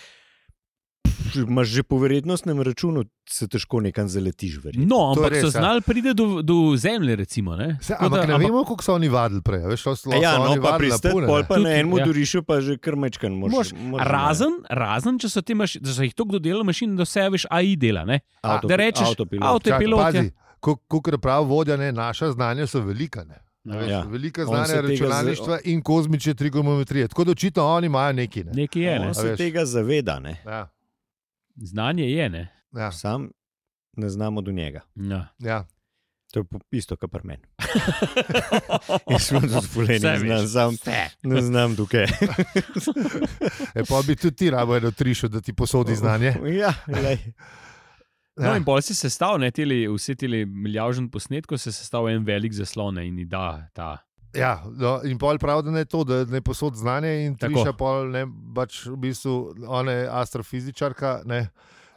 Speaker 3: pff, imaš že po verjetnostnem računu, se težko nekam zaletiš. verjetno.
Speaker 2: No,
Speaker 1: To je
Speaker 2: ampak
Speaker 1: res,
Speaker 2: so
Speaker 1: ja.
Speaker 2: znali priti do, do zemlje, recimo. Ne?
Speaker 1: Se,
Speaker 2: Tako
Speaker 1: ampak
Speaker 2: da-
Speaker 1: ne vemo, koliko so oni vadili prej. a Veš, so, so,
Speaker 3: Ja,
Speaker 1: so
Speaker 3: no,
Speaker 1: oni
Speaker 3: pa
Speaker 1: vadili na
Speaker 3: pristati,
Speaker 1: pune,
Speaker 3: pol
Speaker 1: ne.
Speaker 3: pa na
Speaker 2: Tudi,
Speaker 3: enem
Speaker 2: ja.
Speaker 3: durišu, pa že krmečkan
Speaker 2: Mož,
Speaker 3: mož. mož-
Speaker 2: razen, razen, če so, te maš, če so jih tako dodelali mašine, da vse veš, AI dela. Ne?
Speaker 3: Avto-
Speaker 2: da rečeš,
Speaker 3: avtopilot.
Speaker 2: avto-
Speaker 1: Čakaj,
Speaker 2: pilot,
Speaker 1: pazi,
Speaker 2: ja.
Speaker 1: Kot ko pravi vodja, ne, naša znanja so velika. Ne. A Veš, ja.
Speaker 3: Ja.
Speaker 1: Velika
Speaker 3: On se
Speaker 1: znanja
Speaker 3: tega z-
Speaker 1: računalništva z... in kozmične trigonometrije. Tako da očitno oni imajo nekaj.
Speaker 3: Ja.
Speaker 1: Ne.
Speaker 2: Nekaj je, ne?
Speaker 3: On
Speaker 1: A
Speaker 3: se
Speaker 1: veš.
Speaker 3: tega zaveda, ne.
Speaker 1: Ja,
Speaker 2: znanje je. Ne?
Speaker 1: ja,
Speaker 3: sam ne znamo do njega.
Speaker 2: Ja.
Speaker 1: ja.
Speaker 3: To je po- isto, kar pri meni. Jaz sem tudi zbolen,
Speaker 2: Vse
Speaker 3: ne
Speaker 2: veš.
Speaker 3: znam, sam,
Speaker 1: Ja.
Speaker 3: ne znam tukaj.
Speaker 1: E, pa bi tudi ti rabo eno trišo, da ti posodi znanje.
Speaker 3: Ja, lej.
Speaker 2: No,
Speaker 1: Ja.
Speaker 2: in pol si sestavil, ne, teli, vse te milijardžen posnetkov si sestavil en velik zaslon ne, in ji da ta.
Speaker 1: Ja, no, in pol prav, da ne to, da ne posod znanje in
Speaker 2: Tako.
Speaker 1: triša pol ne, pač v bistvu ona je astrofizičarka, ne.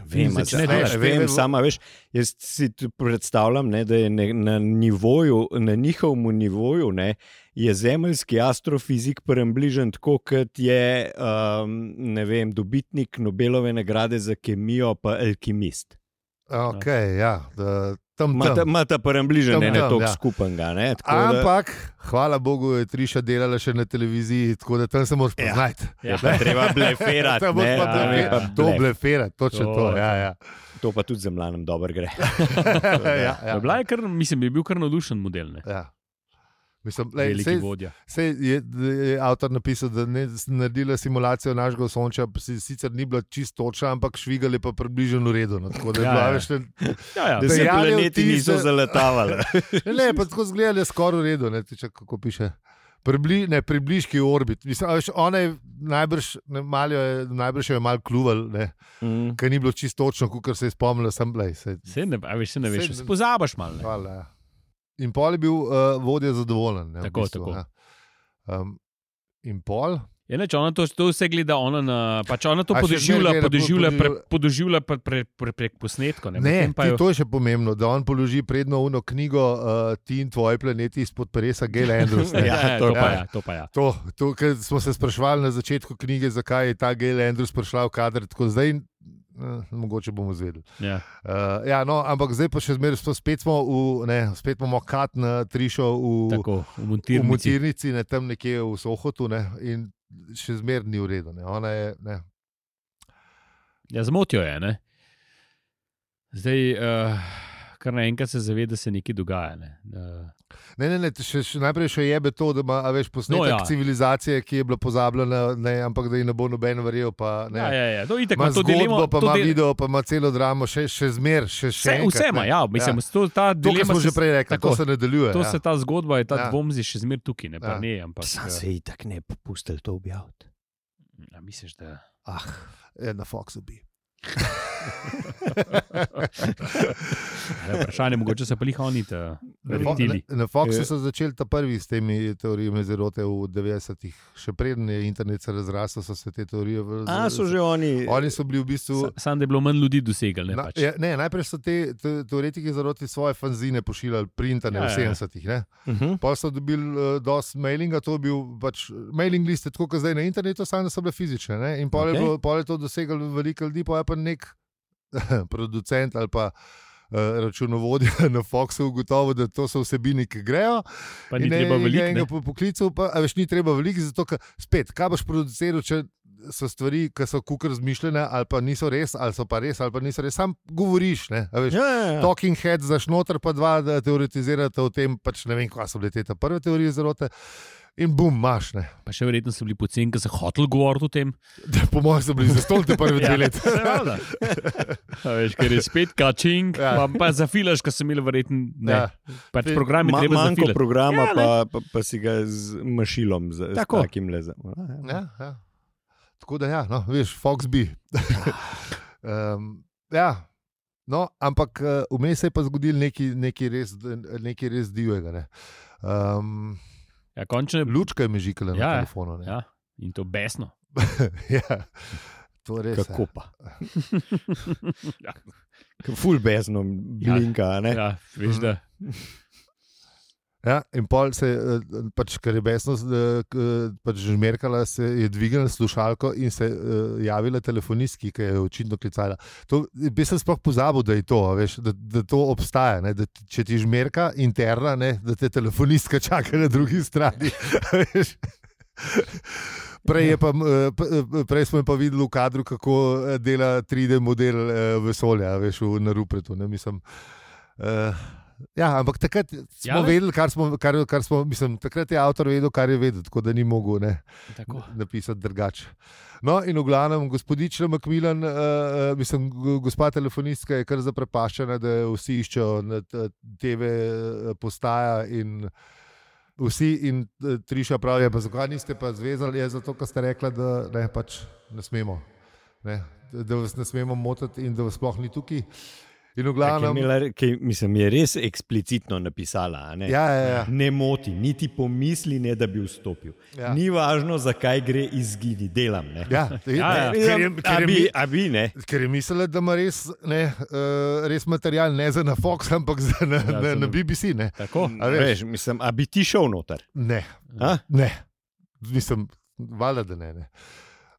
Speaker 3: Vem,
Speaker 2: začne
Speaker 3: a-
Speaker 2: delati.
Speaker 3: a- vem, sama veš, jaz si tu predstavljam, ne, da je ne, na, nivoju, na njihovem nivoju ne, je zemeljski astrofizik prebližen tako, kot je um, ne vem, dobitnik Nobelove nagrade za kemijo, pa alkimist.
Speaker 1: Okay, ja, da, tam,
Speaker 3: Mata,
Speaker 1: tam.
Speaker 3: mata prebližen,
Speaker 1: Tam,
Speaker 3: ne, ne
Speaker 1: tam,
Speaker 3: toliko
Speaker 1: ja.
Speaker 3: ja. skupnega. Ne, tako da-
Speaker 1: Ampak, hvala Bogu, je Triša delala še na televiziji, tako da tam se moraš
Speaker 3: Ja.
Speaker 1: poznati.
Speaker 3: Je pa treba bleferati.
Speaker 1: Tam
Speaker 3: ne,
Speaker 1: moraš pa
Speaker 3: a
Speaker 1: blefe-
Speaker 3: ne, pa
Speaker 1: to
Speaker 3: blef.
Speaker 1: blefira, točno to.
Speaker 2: To,
Speaker 1: to ja, ja.
Speaker 3: To pa tudi zemljanom dobro gre.
Speaker 1: ja,
Speaker 2: Ja. Bila je kar, mislim, je bil kar navdušen model. Ne?
Speaker 1: ja. Mislim, lej,
Speaker 2: Veliki
Speaker 1: sej,
Speaker 2: vodja.
Speaker 1: sej je, je avtor napisal, da ne s- naredila simulacijo našega sonča, si- sicer ni bila čisto točna, ampak švigal je pa približno v redu. No, tako da je
Speaker 2: Ja,
Speaker 1: bila
Speaker 2: ja.
Speaker 1: več. Ne,
Speaker 2: Ja, ja.
Speaker 3: Da se
Speaker 1: Dejali
Speaker 3: planeti
Speaker 1: vtis,
Speaker 3: niso
Speaker 1: da-
Speaker 3: zaletavali.
Speaker 1: ne, pa tako zgleda, da je skoraj v redu, ne, tiče, kako piše. Pribli, ne, približki orbit. Mislim, a veš, ona je najbrž, ne, malo jo je, najbrž jo je malo kluval, ne,
Speaker 3: Mm.
Speaker 1: ker ni bilo čisto točno, kot se je spomnila, sem bila.
Speaker 2: Se ne, a veš, se ne
Speaker 1: Saj
Speaker 2: veš,
Speaker 1: ne-
Speaker 2: spozabaš malo. Ne?
Speaker 1: Hvala. ja. In pol je bil uh, vodja zadovoljen. Ne,
Speaker 2: Tako,
Speaker 1: v bistvu,
Speaker 2: tako.
Speaker 1: ne. Um, in pol.
Speaker 2: Je neč, ona to, to vse gleda, ona, na, pač ona to
Speaker 1: A še
Speaker 2: podoživlja,
Speaker 1: zmeraj gleda,
Speaker 2: podoživlja, pre,
Speaker 1: podoživlja.
Speaker 2: podoživlja pre, pre, pre, prek posnetkov. Ne,
Speaker 1: Ne,
Speaker 2: Potem pa
Speaker 1: ti,
Speaker 2: jo-
Speaker 1: to je še pomembno, da on položi predno uno knjigo uh, Ti in tvoji planeti izpod peresa Gela Andrews.
Speaker 2: ja,
Speaker 1: ne.
Speaker 2: ja, to, pa
Speaker 1: ja.
Speaker 2: ja, to pa ja.
Speaker 1: To, to kar smo se sprašvali na začetku knjige, zakaj je ta Gela Andrews prišla v kader, tako zdaj, eh, mogoče bomo izvedeli.
Speaker 2: ja.
Speaker 1: Uh, ja, no, ampak zdaj pa še zmeraj smo- spet smo v, ne, spet imamo kat na Trišo v,
Speaker 2: Tako, v
Speaker 1: v
Speaker 2: montirnici.
Speaker 1: Mutirnici, ne, tam nekje v Sohotu ne, in še zmeraj ni v redu. Ne. Ona je, ne,
Speaker 2: Ja, zmotijo je. Ne? Zdaj, uh, kar naenkrat se zaveda, da se nekaj dogaja. Ne? Uh,
Speaker 1: Ne, ne, ne, še, še, najprej še jebe to, da ima a veš, posnetek no,
Speaker 2: No,
Speaker 1: ja.
Speaker 2: ja.
Speaker 1: civilizacije, ki je bila pozabljena, ne, ampak da ji ne bo noben verjel. Pa, ne.
Speaker 2: ja, ja, ja. No, itak,
Speaker 1: Ima
Speaker 2: ima to dilemo,
Speaker 1: zgodbo, pa
Speaker 2: to
Speaker 1: ima
Speaker 2: del-
Speaker 1: video, pa ima celo dramo, še, še zmer, še še.
Speaker 2: Vse,
Speaker 1: enkrat,
Speaker 2: vse ima,
Speaker 1: ne.
Speaker 2: ja, mislim, ja. To, ta
Speaker 1: To, kar
Speaker 2: dilema
Speaker 1: smo
Speaker 2: se-
Speaker 1: že prej rekli,
Speaker 2: tako,
Speaker 1: tako se nadaljuje.
Speaker 2: To
Speaker 1: ja.
Speaker 2: se ta zgodba je, ta
Speaker 1: Ja.
Speaker 2: ja. dvom je še zmer tukaj, ne pa
Speaker 1: Ja.
Speaker 2: ja. ne. Ampak,
Speaker 3: Sam se ji tako ne bi pustil to objaviti.
Speaker 2: eh, a misliš, da.
Speaker 3: Ah,
Speaker 1: Ja, na Foxu bi.
Speaker 2: Ja, vprašanje, mogoče se plih oni, ta
Speaker 1: Na Fo-
Speaker 2: reptili.
Speaker 1: Na, na Foxu
Speaker 3: Eh.
Speaker 1: so začeli ta prvi s temi teorijami zarote v 90-ih, še preden je internet se razrasel, so se te teorije. v-
Speaker 3: a so že oni.
Speaker 1: Oni so bili v bistvu.
Speaker 2: Sa- Sam da je bilo manj ljudi dosegel, ne
Speaker 1: Na,
Speaker 2: pač.
Speaker 1: ja, ne, najprej so te te- teoretiki zaroti svoje fanzine pošiljali, printane
Speaker 2: Ja,
Speaker 1: ja,
Speaker 2: ja.
Speaker 1: v 70-ih. ne.
Speaker 3: Uh -huh.
Speaker 1: Pol so dobili uh, dosti mailinga, to je bil pač mailing list, tako kot zdaj na internetu, samo da so bile fizične. Ne? In pol, okay. je
Speaker 3: Okej.
Speaker 1: bilo, pol je to dosegalo veliko ljudi, pa je pa nek producent ali pa. eh, Računovodja na Foxu ugotovil, da to so vsebini, ki grejo.
Speaker 2: Pa ni
Speaker 1: In je-
Speaker 2: treba
Speaker 1: in je
Speaker 2: veliko.
Speaker 1: ja, enega
Speaker 2: ne.
Speaker 1: po poklicu, pa a veš, ni treba veliko, zato ker spet, kaj boš produciral, če so stvari, ki so kukar zmišljene, ali pa niso res, ali so pa res, ali pa niso res, sam govoriš. Ne, a veš,
Speaker 3: Ja, ja, ja.
Speaker 1: Talking head znaš noter, pa dva da teoretizirata o tem, pač ne vem, kaj so bile te ta prve teorije zarote. In bum, maš. Ne.
Speaker 2: Pa še verjetno so bili poceni, ker so hoteli govoriti o tem.
Speaker 1: Po mojem so bili zaston te prve dve leti.
Speaker 2: Ja, seveda. A Veš, ker je spet kačing,
Speaker 1: Ja.
Speaker 2: ja. pa, pa zafilaš, ker sem imel verjetno ne.
Speaker 1: Ja.
Speaker 2: Ja. Pač
Speaker 1: Te-
Speaker 2: program je
Speaker 3: Ma,
Speaker 2: treba
Speaker 3: manjko
Speaker 2: zafilati.
Speaker 3: programa, ja,
Speaker 2: Ja, ne.
Speaker 3: pa, pa, pa si ga z mašilom, z, z
Speaker 2: Tako.
Speaker 3: takim lezem. A, ja.
Speaker 1: Ja, ja. Tako da, ja, no, veš, Fox bi. um, ja. No, ampak eh, vmes se je pa zgodil nekaj, nekaj, res, nekaj res divjega. Ne. Um,
Speaker 2: Ja, končno je
Speaker 3: Mm.
Speaker 2: bilo.
Speaker 1: lučka je mežikala na
Speaker 2: Ja, ja.
Speaker 1: telefonu. Ne.
Speaker 2: Ja. In to besno.
Speaker 1: ja. To je res. ja.
Speaker 3: Kako pa?
Speaker 2: Ja.
Speaker 3: Ful bezno, blinka. a ne?
Speaker 2: Ja, veš, da.
Speaker 1: Ja, in pol se je, eh, pač, ker je besno eh, k- eh, pač žmerkala, se je dvignila slušalko in se eh, javila telefonistki, ki je očitno klicala. To, bi se sploh pozabil, da je to, a veš, da, da to obstaja. Ne, da, ti- če ti žmerka interna, ne, da te telefonistka čaka na drugi strani. a veš. Prej, je pa, eh, p- eh, prej smo jo pa videli v kadru, kako eh, dela 3D model eh, vesolja, a veš, v- na Rupretu. Ne, mislim, eh, ja, ampak takrat smo ja,
Speaker 2: Ja, ne.
Speaker 1: vedeli, kar smo, kar, kar smo, mislim, takrat je avtor vedel, kar je vedel, tako da ni mogel ne,
Speaker 3: Mm.
Speaker 2: Tako.
Speaker 1: napisati drugače. No, in v glavnem, gospodična Makmilan, uh, mislim, g- gospa telefonistka je kar zaprepaščena, da jo vsi iščejo na t- TV eh, postaja in. Vsi in eh, Triša pravijo, pa zakaj niste pa zvezali, je zato, ker ste rekli, da ne, pač ne smemo. Ne, da vas ne smemo motiti in da vas sploh ni tukaj. In v
Speaker 3: Ja, ki je
Speaker 1: glavnem.
Speaker 3: imela re- ki je- Mislim, je res eksplicitno napisala. a Ne?
Speaker 1: Ja, ja, ja.
Speaker 3: ne moti, niti pomisli ne, da bi vstopil.
Speaker 1: Ja.
Speaker 3: Ja. Ni važno, zakaj gre izgini, delam. Ne?
Speaker 1: Ja, te, ja,
Speaker 2: Ja,
Speaker 1: ja.
Speaker 2: ja.
Speaker 1: Ker, je, ker,
Speaker 3: a
Speaker 1: je,
Speaker 3: bi,
Speaker 1: mi-
Speaker 3: a bi ne.
Speaker 1: ker je mislila, da ima res, ne, uh, res material ne za na Fox, ampak za na, ja,
Speaker 2: Ja,
Speaker 1: na, na
Speaker 2: za na-
Speaker 1: BBC. Ne.
Speaker 2: Tako. Ja.
Speaker 1: A veš?
Speaker 3: Veš, mislim, a bi ti šel noter?
Speaker 1: Ne,
Speaker 3: A?
Speaker 1: ne. Mislim, valjda, da ne. ne.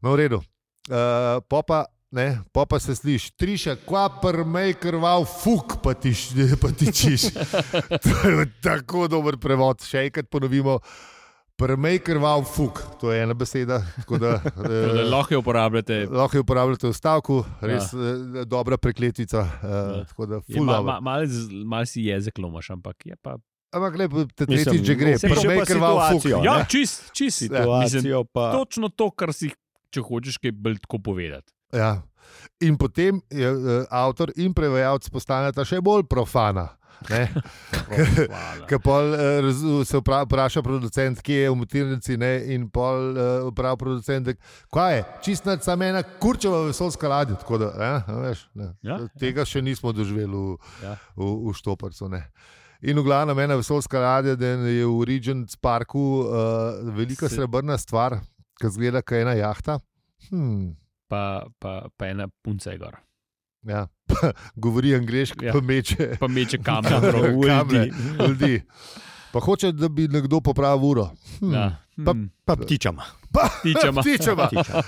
Speaker 1: No, v redu. Uh, popa, ne, popa se sliši, triša, kva prmej krval, fuk pa ti, š- pa ti čiš. to je tako dober prevod. Še enkrat ponovimo. Prmej krval, fuk. To je ena beseda. Tako da,
Speaker 2: Tako da
Speaker 1: eh,
Speaker 2: Lahko jo uporabljate.
Speaker 1: Lahko jo uporabljate v stavku, res ja. dobra prekletvica.
Speaker 2: Ja. Je
Speaker 1: Ja.
Speaker 2: ma-
Speaker 1: Ma, ma,
Speaker 2: ma- Malo z- malo si jezik lomaš, ampak je pa.
Speaker 1: Ampak le, te
Speaker 3: Mislim,
Speaker 1: tretjič že gre,
Speaker 3: vse je
Speaker 1: prvi
Speaker 3: pa
Speaker 1: krval fuk.
Speaker 3: situacijo,
Speaker 2: Ja,
Speaker 3: ne?
Speaker 2: čist, čist.
Speaker 1: Ja.
Speaker 2: Mislim,
Speaker 3: Situacijo pa.
Speaker 2: Točno to, kar si, če hočeš, kaj bolj tako povedati.
Speaker 1: Ja. In potem je eh, avtor in prevajalec postaneta še bolj profana. Ne?
Speaker 2: Hvala.
Speaker 1: Ker pol eh, raz- se vpra- vpraša producent, kje je v mutirnici, ne? in pol eh, vpraša producent, da, kaj je, čist nad samo ena kurčeva vesolska ladja. tako Da, eh, a veš, ne.
Speaker 2: Ja,
Speaker 1: Tega še nismo doživeli v, ja.
Speaker 2: Ja.
Speaker 1: v, v Štoparcu. Ne. In v glavnem ena vesolska ladja da je v Regent's Parku uh, velika
Speaker 2: Se-
Speaker 1: srebrna stvar, ki zgleda kot ena jahta. Hmm.
Speaker 2: Pa, pa, pa ena punca je gor.
Speaker 1: Ja. Govori angliško, ja.
Speaker 2: Ja.
Speaker 1: pa meče
Speaker 2: Pa meče kamero.
Speaker 1: Kamero.
Speaker 2: okrog.
Speaker 1: Kamre.
Speaker 3: Kamre,
Speaker 1: ljudi. Pa hoče, da bi nekdo popravil uro. Hmm.
Speaker 2: Ja.
Speaker 1: Pa-
Speaker 2: Hmm,
Speaker 3: pa ptičama.
Speaker 2: Ptičama.
Speaker 1: Ptičama.
Speaker 3: Ptičama.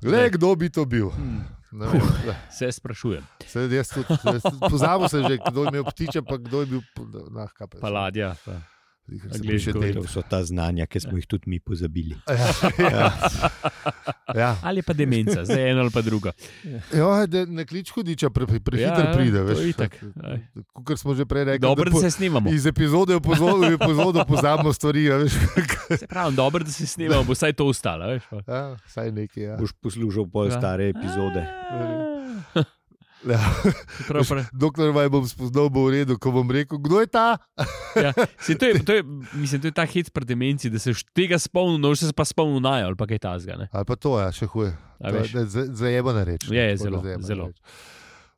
Speaker 1: Le kdo bi to bil?
Speaker 2: Hmm,
Speaker 1: Ne vem,
Speaker 2: Se sprašujem.
Speaker 1: saj jaz tudi- jaz tudi- Pozabil sem že, kdo je imel ptiče, pa kdo je bil. Nah, kaj pa je.
Speaker 2: Pa ladja. Pa.
Speaker 1: Zdaj, ker se
Speaker 2: angleško
Speaker 1: piše
Speaker 2: je
Speaker 1: Dave.
Speaker 3: To so ta znanja, ki smo jih tudi mi pozabili.
Speaker 1: Ja. Ja.
Speaker 2: ali pa demenca, zdaj eno ali pa drugo.
Speaker 1: Jo, da ne klič hudiča, prehiter pre, pre
Speaker 2: Ja,
Speaker 1: ja,
Speaker 2: ja,
Speaker 1: pride.
Speaker 2: to
Speaker 1: veš.
Speaker 2: je itak. Aj.
Speaker 1: Kot smo že prej rekli,
Speaker 2: Dobro,
Speaker 1: po-
Speaker 2: da se snimamo.
Speaker 1: iz epizode v epizodo, v epizodo pozabimo stvari. a Veš,
Speaker 2: Se pravi, dobro, da se snimamo, bo vsaj to ostalo. Veš, pa.
Speaker 1: ja, saj nekaj. Ja.
Speaker 3: Boš poslušal pol
Speaker 2: Ja.
Speaker 3: stare epizode.
Speaker 1: Ja.
Speaker 2: Prav, prav.
Speaker 1: Dokler vaj bom spoznal, bo v redu, ko bom rekel, kdo je ta.
Speaker 2: Ja. Saj To, je, to, je, mislim, to je ta hit pred demenci, da se boš tega spomnil, no še se pa spomnil naj ali pa kaj tazga. Ne?
Speaker 1: Ali pa to, ja, še huje.
Speaker 2: A veš.
Speaker 1: Zajebana reč.
Speaker 2: Je, je
Speaker 1: Tako da
Speaker 2: zelo,
Speaker 1: zajebana
Speaker 2: zelo.
Speaker 1: reč.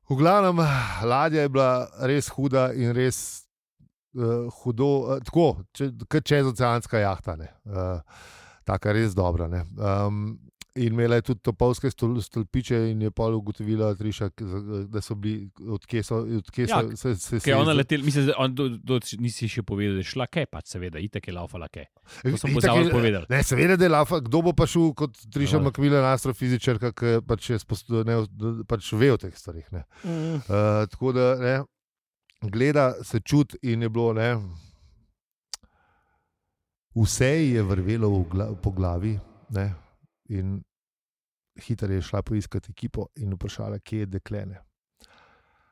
Speaker 1: V glavnem, ladja je bila res huda in res uh, hudo, uh, tako, če, kot čezoceanska jahta. ne. Uh, Taka res dobra. ne. Um, in imela je tudi topolske stol, stolpiče, in je pol ugotovila, Triša, k- za- da so bili, odkje so, odkje
Speaker 2: Ja,
Speaker 1: so se, se,
Speaker 2: Kaj je ona
Speaker 1: se
Speaker 2: letela, mislim, da on, do, do, nisi še povedal, da je šla kaj, pač seveda, itak je laufala kaj.
Speaker 1: Ja,
Speaker 2: To sem
Speaker 1: Itak
Speaker 2: pozabil
Speaker 1: je-
Speaker 2: povedati.
Speaker 1: Ne, seveda, da je lafa, kdo bo pa šel kot Triša
Speaker 2: Seveda.
Speaker 1: Makvila, astrofizičarka, ki pač, je sposto- ne, pač ve o teh stvarih. ne.
Speaker 3: Mm.
Speaker 1: Uh, tako da ne, gleda, se čuti in je bilo. Ne, vse ji je vrvelo v gla, po glavi, ne, in hitro je šla poiskati ekipo in vprašala, kje je deklene.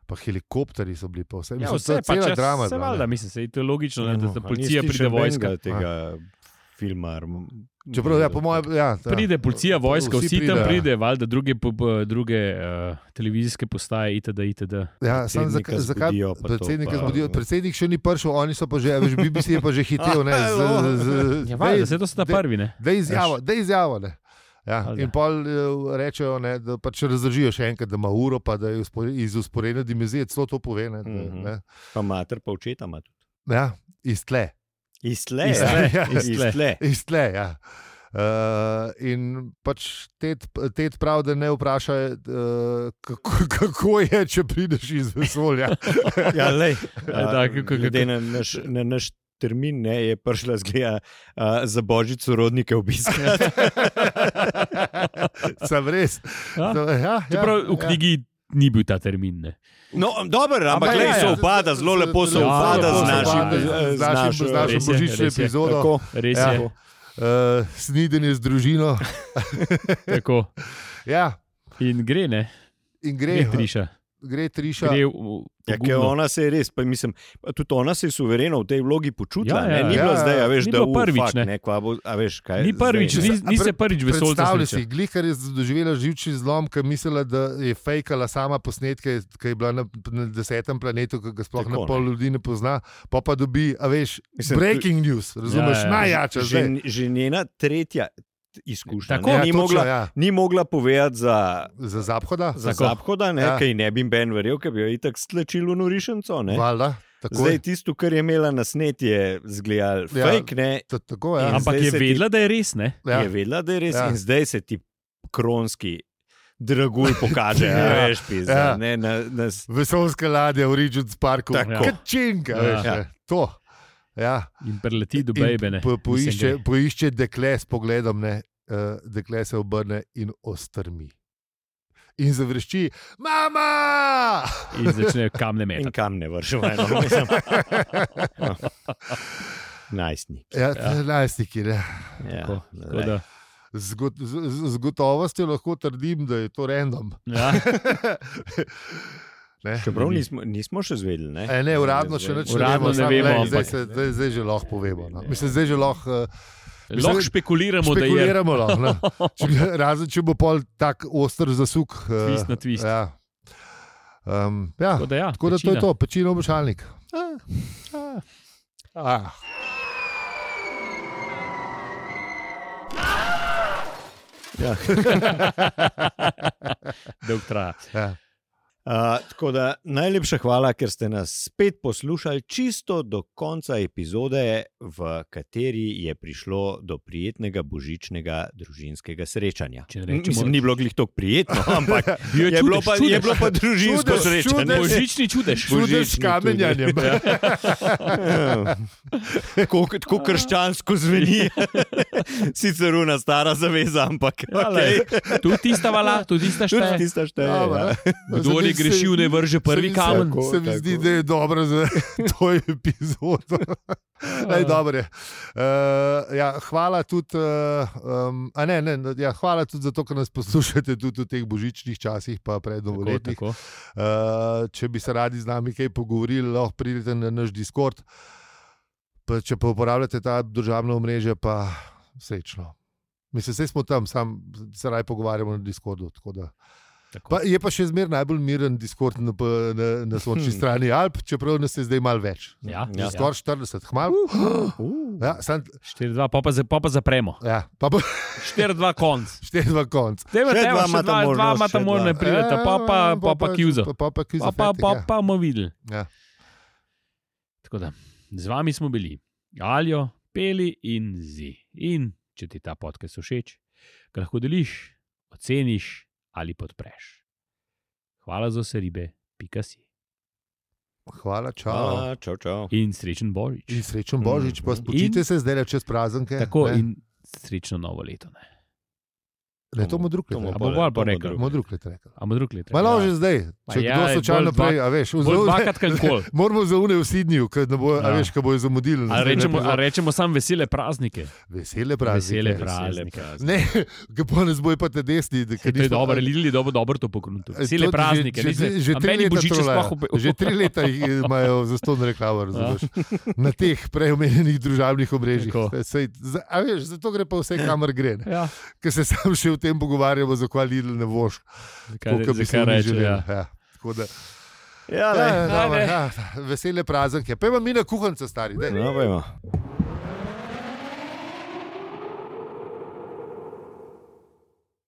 Speaker 1: Pa helikopteri so bili, pa vse,
Speaker 2: Ja,
Speaker 1: Mislim,
Speaker 2: vse
Speaker 1: to je cela
Speaker 2: pač,
Speaker 1: drama. je
Speaker 2: Se
Speaker 1: bila,
Speaker 2: valjda,
Speaker 1: ne.
Speaker 2: mislim, se, to je logično, ne,
Speaker 3: Ja,
Speaker 2: da,
Speaker 3: no,
Speaker 2: da
Speaker 3: a
Speaker 2: policija
Speaker 3: nisi
Speaker 2: pride
Speaker 3: še
Speaker 2: vojska.
Speaker 3: nobenega Tega filma.
Speaker 1: Čeprav, ja, po mojem, ja, ta-
Speaker 2: Pride policija, vojska, vsi, vsi tam
Speaker 1: pridejo. ja.
Speaker 2: pride, valjda, druge, po- po- druge uh, televizijske postaje, itd. itd.
Speaker 1: Ja, samo
Speaker 3: Predsednika
Speaker 1: zakaj? zakaj
Speaker 3: zbudijo, pa to,
Speaker 1: predsednika
Speaker 3: pa-
Speaker 1: zbudijo. Predsednik še ni prišel, oni so pa že, a veš, BBC je pa že hitel. Ne, z, z, z,
Speaker 2: Ja, valjda,
Speaker 1: daj-
Speaker 2: se to sta
Speaker 1: daj-
Speaker 2: prvi, ne?
Speaker 1: Da izjavo, da izjavo. Ne. Ja,
Speaker 2: Valjda.
Speaker 1: in pol eh, rečejo, ne, da pač razložijo še enkrat, da ima uro, pa da je uspore- iz usporedne dimenzije celo to pove. Ne, da,
Speaker 3: Mhm.
Speaker 1: ne.
Speaker 3: Pa mater, pa očeta ima tudi.
Speaker 1: Ja, iz tle.
Speaker 3: Iz tle,
Speaker 2: Iz tle,
Speaker 3: ja.
Speaker 2: iz tle.
Speaker 1: Iz tle ja. Uh, in pač tet, tet pravi, da ne vprašaj, uh, kako, kako je, če prideš iz vesolja.
Speaker 3: Ja, lej,
Speaker 2: Ja, da, kako- kako-
Speaker 3: glede na naš, na naš termin ne, je prišla zgleda a, za božič sorodnike obiskati.
Speaker 1: Sem res.
Speaker 2: Ja.
Speaker 1: To- Ja,
Speaker 2: Čeprav
Speaker 1: ja,
Speaker 2: v knjigi ni bil ta termin. Ne?
Speaker 3: No, dobro, ampak
Speaker 2: Ampak
Speaker 3: glej,
Speaker 2: ja, ja.
Speaker 3: se upada, zelo lepo se
Speaker 2: Ja,
Speaker 3: upada
Speaker 2: lepo se
Speaker 3: z
Speaker 2: upada
Speaker 3: našim,
Speaker 1: z-
Speaker 3: eh,
Speaker 1: z našim- z našo
Speaker 2: res je,
Speaker 1: božično
Speaker 2: res je.
Speaker 1: epizodo.
Speaker 3: Tako,
Speaker 2: Res
Speaker 1: Ja.
Speaker 2: ja. je.
Speaker 1: Uh, snidenje z družino.
Speaker 2: Tako.
Speaker 1: Ja,
Speaker 2: In gre, ne?
Speaker 1: in
Speaker 2: Gre
Speaker 1: gre,
Speaker 2: triša.
Speaker 1: gre triša.
Speaker 2: Gre v, v,
Speaker 3: Ja, ker
Speaker 2: pogumno.
Speaker 3: ona se je res, pa mislim, pa tudi ona se je suvereno v tej vlogi počutila.
Speaker 2: Ja,
Speaker 3: Ja, ja,
Speaker 2: ja,
Speaker 3: ni
Speaker 1: ja,
Speaker 3: ja, bilo
Speaker 1: ja.
Speaker 3: zdaj, a veš,
Speaker 2: Ni
Speaker 3: da
Speaker 2: bilo prvič,
Speaker 3: ufak,
Speaker 2: ne.
Speaker 3: ne, kva bo, a veš, kaj,
Speaker 2: Ni prvič,
Speaker 3: zdaj,
Speaker 2: ni,
Speaker 3: ne.
Speaker 2: ni se prvič vesolca
Speaker 1: Predstavljaj si,
Speaker 2: sreča.
Speaker 1: glihar je doživela živčni zlom, ker je mislila, da je fejkala sama posnetke, ki je bila na, na desetem planetu, ki ga sploh
Speaker 3: Tako,
Speaker 1: na
Speaker 3: ne.
Speaker 1: pol ljudi ne pozna, pa pa dobi, a veš,
Speaker 3: Mislim,
Speaker 1: Mislim, breaking news, razumeš, ja,
Speaker 2: Ja, ja.
Speaker 1: ja. najjača
Speaker 3: že,
Speaker 1: zdaj.
Speaker 3: že njena tretja izkušnja.
Speaker 2: Tako,
Speaker 3: ne,
Speaker 1: ja,
Speaker 3: ni,
Speaker 1: točno,
Speaker 3: mogla,
Speaker 1: ja.
Speaker 3: ni mogla povedati za,
Speaker 1: Za zaphoda?
Speaker 3: za
Speaker 2: Tako.
Speaker 3: zaphoda,
Speaker 1: Ja.
Speaker 3: ja. kaj ne bi jim Ben verjel, ker bi jo itak stlačil v norišnico. ne.
Speaker 1: Valda, tako
Speaker 3: Zdaj
Speaker 1: je.
Speaker 3: tisto, kar je imela na snet, je zgledal
Speaker 1: Ja.
Speaker 3: ja. fake, ne,
Speaker 1: Ta- Tako, ja.
Speaker 2: Ampak
Speaker 3: zdaj
Speaker 2: je
Speaker 3: se ti-
Speaker 2: vedela, da je res, ne?
Speaker 1: Ja.
Speaker 3: ja. je vedela, da je res
Speaker 1: Ja.
Speaker 3: ja. in zdaj se ti kronski dragulj pokaže,
Speaker 1: Ja.
Speaker 3: ja. veš, pizda,
Speaker 1: Ja.
Speaker 3: ja. ne, na, na,
Speaker 1: Vesolska ladja v Regent's Parku,
Speaker 3: Tako.
Speaker 1: kačinka, ja.
Speaker 2: Ja.
Speaker 1: veš,
Speaker 3: Ja.
Speaker 1: ja. to. Ja.
Speaker 2: In preleti do
Speaker 1: In
Speaker 2: Bejbene.
Speaker 1: po- Poišče, poišče dekle s pogledom, ne, uh, dekle se obrne in ostrmi. In završči, mama!
Speaker 2: In začne kamne
Speaker 3: in
Speaker 2: metati.
Speaker 3: kam ne vršil. eno, No. mislim. Najstnik.
Speaker 1: Ja, ja. Najstniki, ne.
Speaker 3: Ja,
Speaker 2: Tako, tako
Speaker 3: lej.
Speaker 2: da-
Speaker 1: Z, got, z, z- z gotovostjo lahko trdim, da je to random.
Speaker 2: Ja,
Speaker 1: ne.
Speaker 3: Čeprav nismo, nismo še zvedeli. Ne,
Speaker 1: E, ne, uradno še nič
Speaker 2: Uradno
Speaker 1: ne vemo,
Speaker 2: ne
Speaker 1: samo,
Speaker 2: vemo,
Speaker 1: glej,
Speaker 2: ampak-
Speaker 1: zdaj, se, zdaj, zdaj že lahko povemo. No. Mislim, zdaj že lahko eh, Mislim,
Speaker 2: Lahko špekuliramo, da je
Speaker 1: špekuliramo. Lahko, no. če, bi- razen če bo pol tak oster zasuk. eh,
Speaker 2: Twist na twist.
Speaker 1: Ja. Um, ja.
Speaker 2: Tako da, ja,
Speaker 1: Tako da to je
Speaker 2: večina.
Speaker 1: to, pečino obešalnik. Ah.
Speaker 2: Dolg traja.
Speaker 1: Ja.
Speaker 3: Uh, tako da najlepša hvala, ker ste nas spet poslušali čisto do konca epizode, v kateri je prišlo do prijetnega božičnega družinskega srečanja.
Speaker 2: Če rečemo-
Speaker 3: Mislim, ni bilo glih tako prijetno, ampak
Speaker 2: Bil je
Speaker 3: je, je,
Speaker 2: čudež,
Speaker 3: bilo pa, je
Speaker 2: čudež.
Speaker 3: bilo pa družinsko
Speaker 1: Čudež,
Speaker 3: srečanje.
Speaker 1: čudež.
Speaker 2: Božični čudež.
Speaker 3: Božični
Speaker 1: Čudež s
Speaker 3: tudi.
Speaker 1: kamenjanjem.
Speaker 2: Ja,
Speaker 3: Tako- Tako krščansko zveni. Sicer una stara zaveza, ampak
Speaker 2: Ja, lej.
Speaker 3: okay.
Speaker 2: Tudi tista vala, tudi tista
Speaker 3: tudi
Speaker 2: šteje.
Speaker 3: tista šteje.
Speaker 1: Dobro,
Speaker 3: Ja.
Speaker 1: ne.
Speaker 2: Kdo
Speaker 1: Se mi
Speaker 2: ne
Speaker 1: se-
Speaker 2: greši, ne vrže prvi
Speaker 1: se mi se-
Speaker 2: kamen.
Speaker 3: tako,
Speaker 1: Se mi
Speaker 3: tako.
Speaker 1: zdi, da je dobro za to epizodo. Ej, dobro je. Uh, ja, hvala tudi, uh, um, a ne, ne, ja, hvala tudi za to, ker nas poslušate tudi v teh božičnih časih, pa pred
Speaker 2: Tako,
Speaker 1: novoletnih.
Speaker 2: tako.
Speaker 1: Uh, če bi se radi z nami kaj pogovorili, lahko pridete na naš Discord. Pa, če pa uporabljate ta državno mrežo, pa srečno. Mislim, vse smo tam, sam se raje pogovarjamo na Discordu. tako da.
Speaker 2: Tako.
Speaker 1: Pa, je pa še zmeraj najbolj miren Discord na, p- na, na sončni
Speaker 3: Hmm.
Speaker 1: strani Alp, čeprav nas je zdaj malo več.
Speaker 2: Ja,
Speaker 3: Ja.
Speaker 2: ja.
Speaker 1: Skoraj 40, hmal.
Speaker 3: Uh.
Speaker 1: Ja, sam,
Speaker 2: 4-2, pa, pa, za- pa pa zapremo.
Speaker 1: ja, pa bo
Speaker 2: 4-2 konc.
Speaker 1: šteješ v konc.
Speaker 2: Dajmo,
Speaker 3: Še
Speaker 2: dajmo,
Speaker 3: dva
Speaker 2: Še
Speaker 3: imata
Speaker 2: dva, dva
Speaker 3: možnost,
Speaker 2: imata
Speaker 3: še
Speaker 2: možne
Speaker 3: dva.
Speaker 2: pridete, pa pa,
Speaker 1: Ja,
Speaker 2: pa, pa kjuzo.
Speaker 1: Pa pa, pa,
Speaker 2: Pa pa, pa, pa bomo videli.
Speaker 1: Ja.
Speaker 2: Tako da, z vami smo bili, Aljo, Peli in Zi. In če ti ta podcast všeč, ga lahko deliš, oceniš ali podpreš. Hvala za vse ribe, pika si.
Speaker 1: Hvala, čau. Hvala.
Speaker 3: Ah, čau, čau.
Speaker 2: In srečen Božič.
Speaker 1: In srečen Božič, pa
Speaker 3: Mhm.
Speaker 1: spočite
Speaker 2: Mm, In-
Speaker 1: se zdaj čez praznike.
Speaker 2: Tako
Speaker 1: ne.
Speaker 2: in srečno novo leto. Ne?
Speaker 1: Ne, to mu drug
Speaker 3: To
Speaker 1: let
Speaker 3: mu
Speaker 2: bo
Speaker 3: le-
Speaker 2: bolj
Speaker 3: to mu
Speaker 2: porekel.
Speaker 3: drug.
Speaker 1: mu drug let rekel.
Speaker 2: A bomo drug leto.
Speaker 1: Malo že zdaj,
Speaker 2: Ja. Ma
Speaker 1: če
Speaker 2: ja,
Speaker 1: kdo
Speaker 2: bolj
Speaker 1: slučajno
Speaker 2: dva-
Speaker 1: prej, a veš,
Speaker 2: Bolj
Speaker 1: vzal-
Speaker 2: dvakrat, kot koli.
Speaker 1: Moramo zaune v Sidnju, ker ne bo, a
Speaker 2: Ja.
Speaker 1: veš, kaj bojo zamudili.
Speaker 2: Ali rečemo, ali rečemo samo vesele praznike.
Speaker 1: Vesele praznike.
Speaker 2: Vesele praznike.
Speaker 3: Vesele
Speaker 2: Praznike.
Speaker 3: praznike.
Speaker 1: Ne, ki pa nas bojo pa te desni. da-
Speaker 2: Ker
Speaker 1: ker
Speaker 2: to je
Speaker 1: nismo-
Speaker 2: dobro, Lidl je dobro, dobro to pokrunto.
Speaker 1: Eh, to
Speaker 2: Vesele praznike.
Speaker 1: Že,
Speaker 2: nisem-
Speaker 1: že, že,
Speaker 2: a
Speaker 1: tri
Speaker 2: meni
Speaker 1: leta
Speaker 2: božiče
Speaker 1: trolajo.
Speaker 2: sploh obe- Ja.
Speaker 1: že tri leta jih imajo za ston reklamo, razumeš? Na teh preomenjenih državnih omrežjih.
Speaker 2: Tako.
Speaker 1: Sej, za, a veš, zato gre pa vse, kamor gre. ne.
Speaker 2: Ja,
Speaker 1: Ker se sam še o tem pogovarjamo, zakaj Lidl ne boš.
Speaker 2: kaj,
Speaker 1: Koliko bi se
Speaker 2: zakaj
Speaker 1: mi
Speaker 2: reče.
Speaker 1: želeli.
Speaker 2: Ja.
Speaker 1: Ja, tako da-
Speaker 3: Ja,
Speaker 1: Ja,
Speaker 3: le.
Speaker 1: dobro,
Speaker 2: Ajde.
Speaker 1: ja, vesele praznike. Pejmo mi na kuhanca, stari. daj.
Speaker 3: No, pojmo.